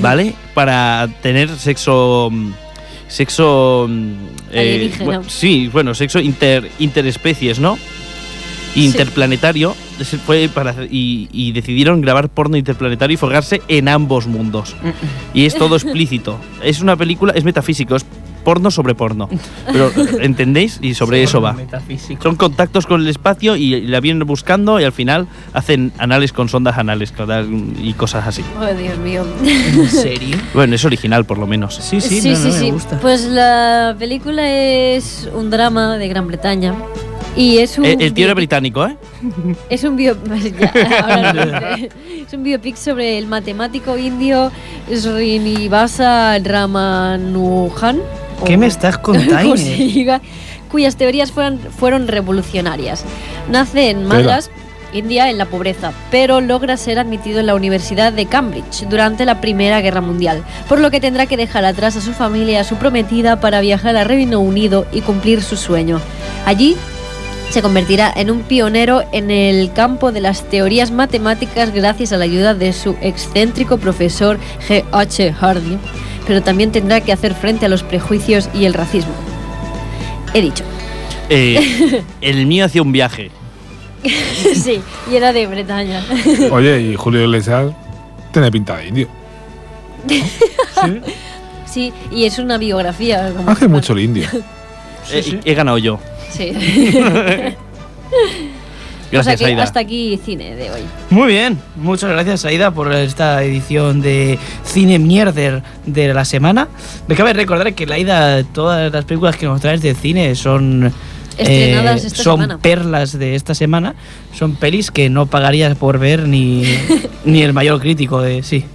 Speaker 4: ¿vale? Para tener sexo. mm, Sexo. mm,
Speaker 2: Alienígena.
Speaker 4: bueno, sí, bueno, sexo inter, interespecies, ¿no?
Speaker 2: Sí.
Speaker 4: Interplanetario. se Fue para, hacer- y, y decidieron grabar porno interplanetario y forgarse en ambos mundos y es todo explícito. Es una película, es metafísico, es porno sobre porno. Pero entendéis y sobre eso va.
Speaker 1: Metafísico.
Speaker 4: Son contactos con el espacio y la vienen buscando y al final hacen anales con sondas anales y cosas así.
Speaker 2: Oh, Dios mío.
Speaker 1: ¿En serio?
Speaker 4: Bueno, es original por lo menos.
Speaker 1: Sí, sí, no, no, me gusta.
Speaker 2: Pues la película es un drama de Gran Bretaña. Y es un.
Speaker 4: Eh, El tío era
Speaker 2: biopic-
Speaker 4: británico, ¿eh?
Speaker 2: Es un biopic. es un biopic sobre el matemático indio Srinivasa Ramanujan. o-
Speaker 1: ¿Qué me estás contando?
Speaker 2: como se diga, cuyas teorías fueron, fueron revolucionarias. Nace en Madras, India, en la pobreza, pero logra ser admitido en la Universidad de Cambridge durante la Primera Guerra Mundial, por lo que tendrá que dejar atrás a su familia y a su prometida para viajar a Reino Unido y cumplir su sueño. Allí se convertirá en un pionero en el campo de las teorías matemáticas gracias a la ayuda de su excéntrico profesor G. H. Hardy, pero también tendrá que hacer frente a los prejuicios y el racismo. He dicho.
Speaker 4: Eh, el mío hacía un viaje.
Speaker 2: sí, y era de Bretaña.
Speaker 3: Oye, y Julio Iglesias tiene pinta de indio. Sí,
Speaker 2: sí, y es una biografía. como
Speaker 3: hace
Speaker 2: tal.
Speaker 3: mucho el indio.
Speaker 4: Eh, He ganado yo.
Speaker 2: Sí.
Speaker 4: Gracias,
Speaker 2: o sea que
Speaker 4: Aida.
Speaker 2: hasta aquí cine de hoy.
Speaker 1: Muy bien, muchas gracias Aida por esta edición de Cine Mierder de la semana. Me cabe recordar que la Aida, todas las películas que nos traes de cine son... eh,
Speaker 2: Estrenadas esta
Speaker 1: son
Speaker 2: semana.
Speaker 1: perlas de esta semana, son pelis que no pagarías por ver ni, ni el mayor crítico de sí.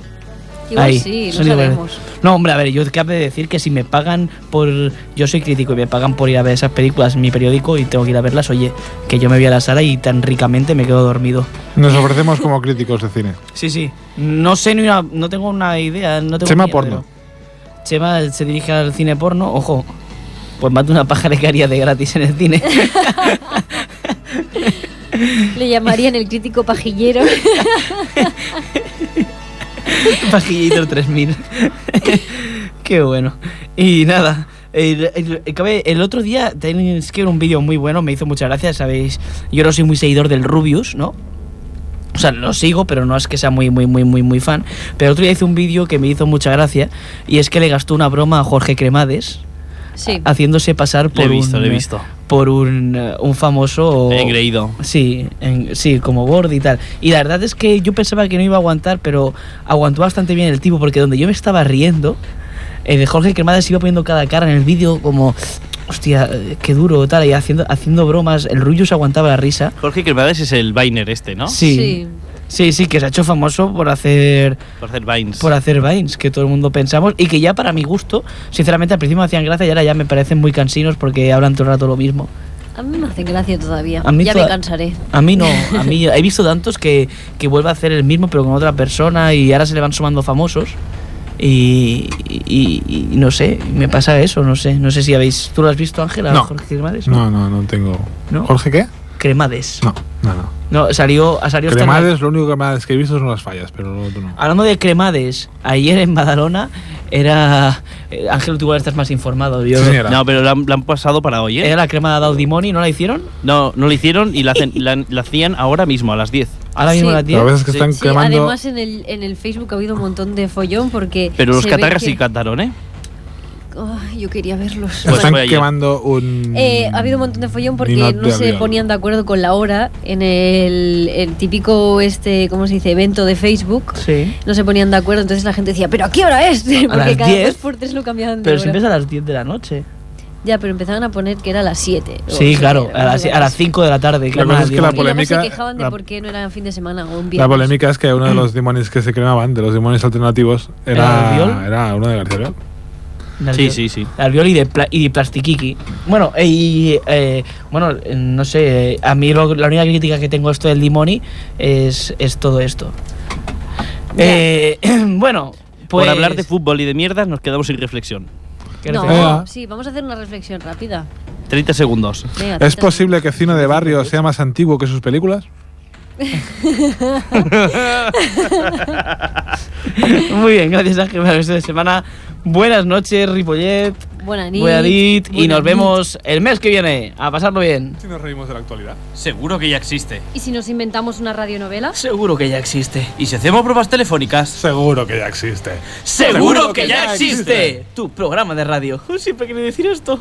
Speaker 2: Igual
Speaker 1: Ahí,
Speaker 2: sí, no
Speaker 1: son iguales.
Speaker 2: sabemos.
Speaker 1: No, hombre, a ver, yo cabe decir que si me pagan por. Yo soy crítico y me pagan por ir a ver esas películas en mi periódico y tengo que ir a verlas, oye, que yo me voy a la sala y tan ricamente me quedo dormido.
Speaker 3: Nos ofrecemos como críticos de cine.
Speaker 1: Sí, sí. No sé ni una. No tengo una idea. No tengo
Speaker 3: Chema
Speaker 1: ni idea,
Speaker 3: porno.
Speaker 1: pero- Chema se dirige al cine porno, ojo. Pues mate una paja que haría de gratis en el cine.
Speaker 2: Le llamarían el crítico pajillero.
Speaker 1: Pajillito 3000. Qué bueno. Y nada. El, el- cabe- el otro día tenéis que ver un vídeo muy bueno, me hizo muchas gracias, sabéis. Yo no soy muy seguidor del Rubius, ¿no? O sea, lo sigo, pero no es que sea muy, muy, muy, muy, muy fan. Pero el otro día hice un vídeo que me hizo mucha gracia y es que le gastó una broma a Jorge Cremades
Speaker 2: Sí.
Speaker 1: haciéndose pasar
Speaker 4: Lo
Speaker 1: por
Speaker 4: he visto,
Speaker 1: un,
Speaker 4: lo he visto.
Speaker 1: por un, eh, un famoso
Speaker 4: He creído.
Speaker 1: Sí, en- sí, como Gordy y tal. Y la verdad es que yo pensaba que no iba a aguantar, pero aguantó bastante bien el tipo, porque donde yo me estaba riendo, el de Jorge Cremades iba poniendo cada cara en el vídeo como, hostia, eh, qué duro, tal, y haciendo, haciendo bromas. El Rullo se aguantaba la risa.
Speaker 4: Jorge Cremades es el Viner este, ¿no?
Speaker 1: Sí. sí. Sí, que se ha hecho famoso por hacer
Speaker 4: Por hacer Vines.
Speaker 1: por hacer Vines, que todo el mundo pensamos, y que ya para mi gusto, sinceramente al principio me hacían gracia y ahora ya me parecen muy cansinos porque hablan todo el rato lo mismo.
Speaker 2: A mí me hacen gracia todavía.
Speaker 1: A mí
Speaker 2: ya
Speaker 1: toda-
Speaker 2: me cansaré.
Speaker 1: A mí no, a mí he visto tantos que, que vuelve a hacer el mismo pero con otra persona y ahora se le van sumando famosos y, y- y- y no sé, me pasa eso, no sé, no sé si habéis, ¿tú lo has visto Ángela?
Speaker 3: No.
Speaker 1: Jorge
Speaker 2: Pues
Speaker 1: Cremades?
Speaker 3: No, no, no tengo.
Speaker 1: ¿No?
Speaker 3: ¿Jorge qué?
Speaker 1: Cremades.
Speaker 3: No, no, no.
Speaker 1: No, salió, ha salido esta
Speaker 3: Cremades, lo único que Cremades que he visto son las fallas, pero lo otro
Speaker 2: Ah,
Speaker 3: no.
Speaker 1: Hablando de Cremades, ayer en Badalona era, eh, Ángel, tú igual estás más informado, yo...
Speaker 3: Sí, señora.
Speaker 4: No, pero la han, la han pasado para hoy, ¿eh?
Speaker 1: Era la crema de Daudimoni, ¿no la hicieron?
Speaker 4: No, no lo hicieron y la, hacen- la, la hacían ahora mismo, a las 10.
Speaker 1: Ahora mismo
Speaker 2: Sí.
Speaker 1: la
Speaker 3: Pero a
Speaker 1: tienen.
Speaker 3: veces que
Speaker 4: Sí.
Speaker 3: están
Speaker 2: Sí,
Speaker 3: quemando.
Speaker 2: además en el, en el Facebook ha habido un montón de follón porque.
Speaker 4: Pero los
Speaker 2: se ve
Speaker 4: catarras
Speaker 2: que-
Speaker 4: sí cantaron, ¿eh?
Speaker 2: Ay, yo quería verlos.
Speaker 4: Pues
Speaker 3: están
Speaker 4: fue ayer.
Speaker 3: quemando un.
Speaker 2: Eh, ha habido un montón de follón porque
Speaker 3: Nino
Speaker 2: no se
Speaker 3: avión.
Speaker 2: ponían de acuerdo con la hora en el, el típico este, ¿cómo se dice? evento de Facebook.
Speaker 1: Sí.
Speaker 2: No se ponían de acuerdo, entonces la gente decía, ¿pero a qué hora es? Porque
Speaker 1: las
Speaker 2: cada
Speaker 1: 10.
Speaker 2: dos por tres lo cambiaban de
Speaker 1: Pero
Speaker 2: hora.
Speaker 1: siempre es a las 10 de la noche.
Speaker 2: Ya, pero empezaban a poner que era a las 7. o
Speaker 1: Sí,
Speaker 2: siete,
Speaker 1: claro,
Speaker 2: no
Speaker 1: a las,
Speaker 2: sé qué
Speaker 1: a las
Speaker 2: más.
Speaker 1: 5 de la tarde.
Speaker 3: La
Speaker 1: crema
Speaker 3: cosa es que la
Speaker 1: Daudimoni.
Speaker 2: Y luego se
Speaker 3: polémica-
Speaker 2: quejaban de
Speaker 3: la-
Speaker 2: por qué no era fin de semana o un viernes.
Speaker 3: La polémica es que uno de los demonios que se cremaban, de los demonios alternativos,
Speaker 1: ¿Era Albiol?
Speaker 3: era, era uno de García Albiol.
Speaker 1: Las
Speaker 4: Sí,
Speaker 1: diez.
Speaker 4: sí, sí.
Speaker 1: Albiol y de, pla- y de plastiquiqui. Bueno, eh, y, eh, bueno, eh, no sé, eh, a mí lo- la única crítica que tengo a esto del Dimoni es, es todo esto.
Speaker 2: Ya.
Speaker 1: Eh, bueno, pues...
Speaker 4: Por hablar de fútbol y de mierdas nos quedamos sin reflexión.
Speaker 1: ¿qué
Speaker 2: No,
Speaker 1: hacemos?
Speaker 3: Ah.
Speaker 2: sí, vamos a hacer una reflexión rápida.
Speaker 4: 30 segundos.
Speaker 2: Venga,
Speaker 3: ¿Es
Speaker 2: tita.
Speaker 3: posible que cine de barrio sea más antiguo que sus películas?
Speaker 1: Muy bien, gracias Ángel por este de semana. Buenas noches, Ripollet,
Speaker 2: Buena nit.
Speaker 1: Buenadit, y
Speaker 2: buena
Speaker 1: nos
Speaker 2: nit.
Speaker 1: vemos el mes que viene. A pasarlo bien.
Speaker 3: Si nos reímos de la actualidad.
Speaker 5: Seguro que ya existe.
Speaker 2: ¿Y si nos inventamos una radionovela?
Speaker 1: Seguro que ya existe.
Speaker 5: ¿Y si hacemos pruebas telefónicas?
Speaker 3: Seguro que ya existe.
Speaker 5: ¡Seguro que ya existe!
Speaker 1: Tu programa de radio. Siempre quería decir esto.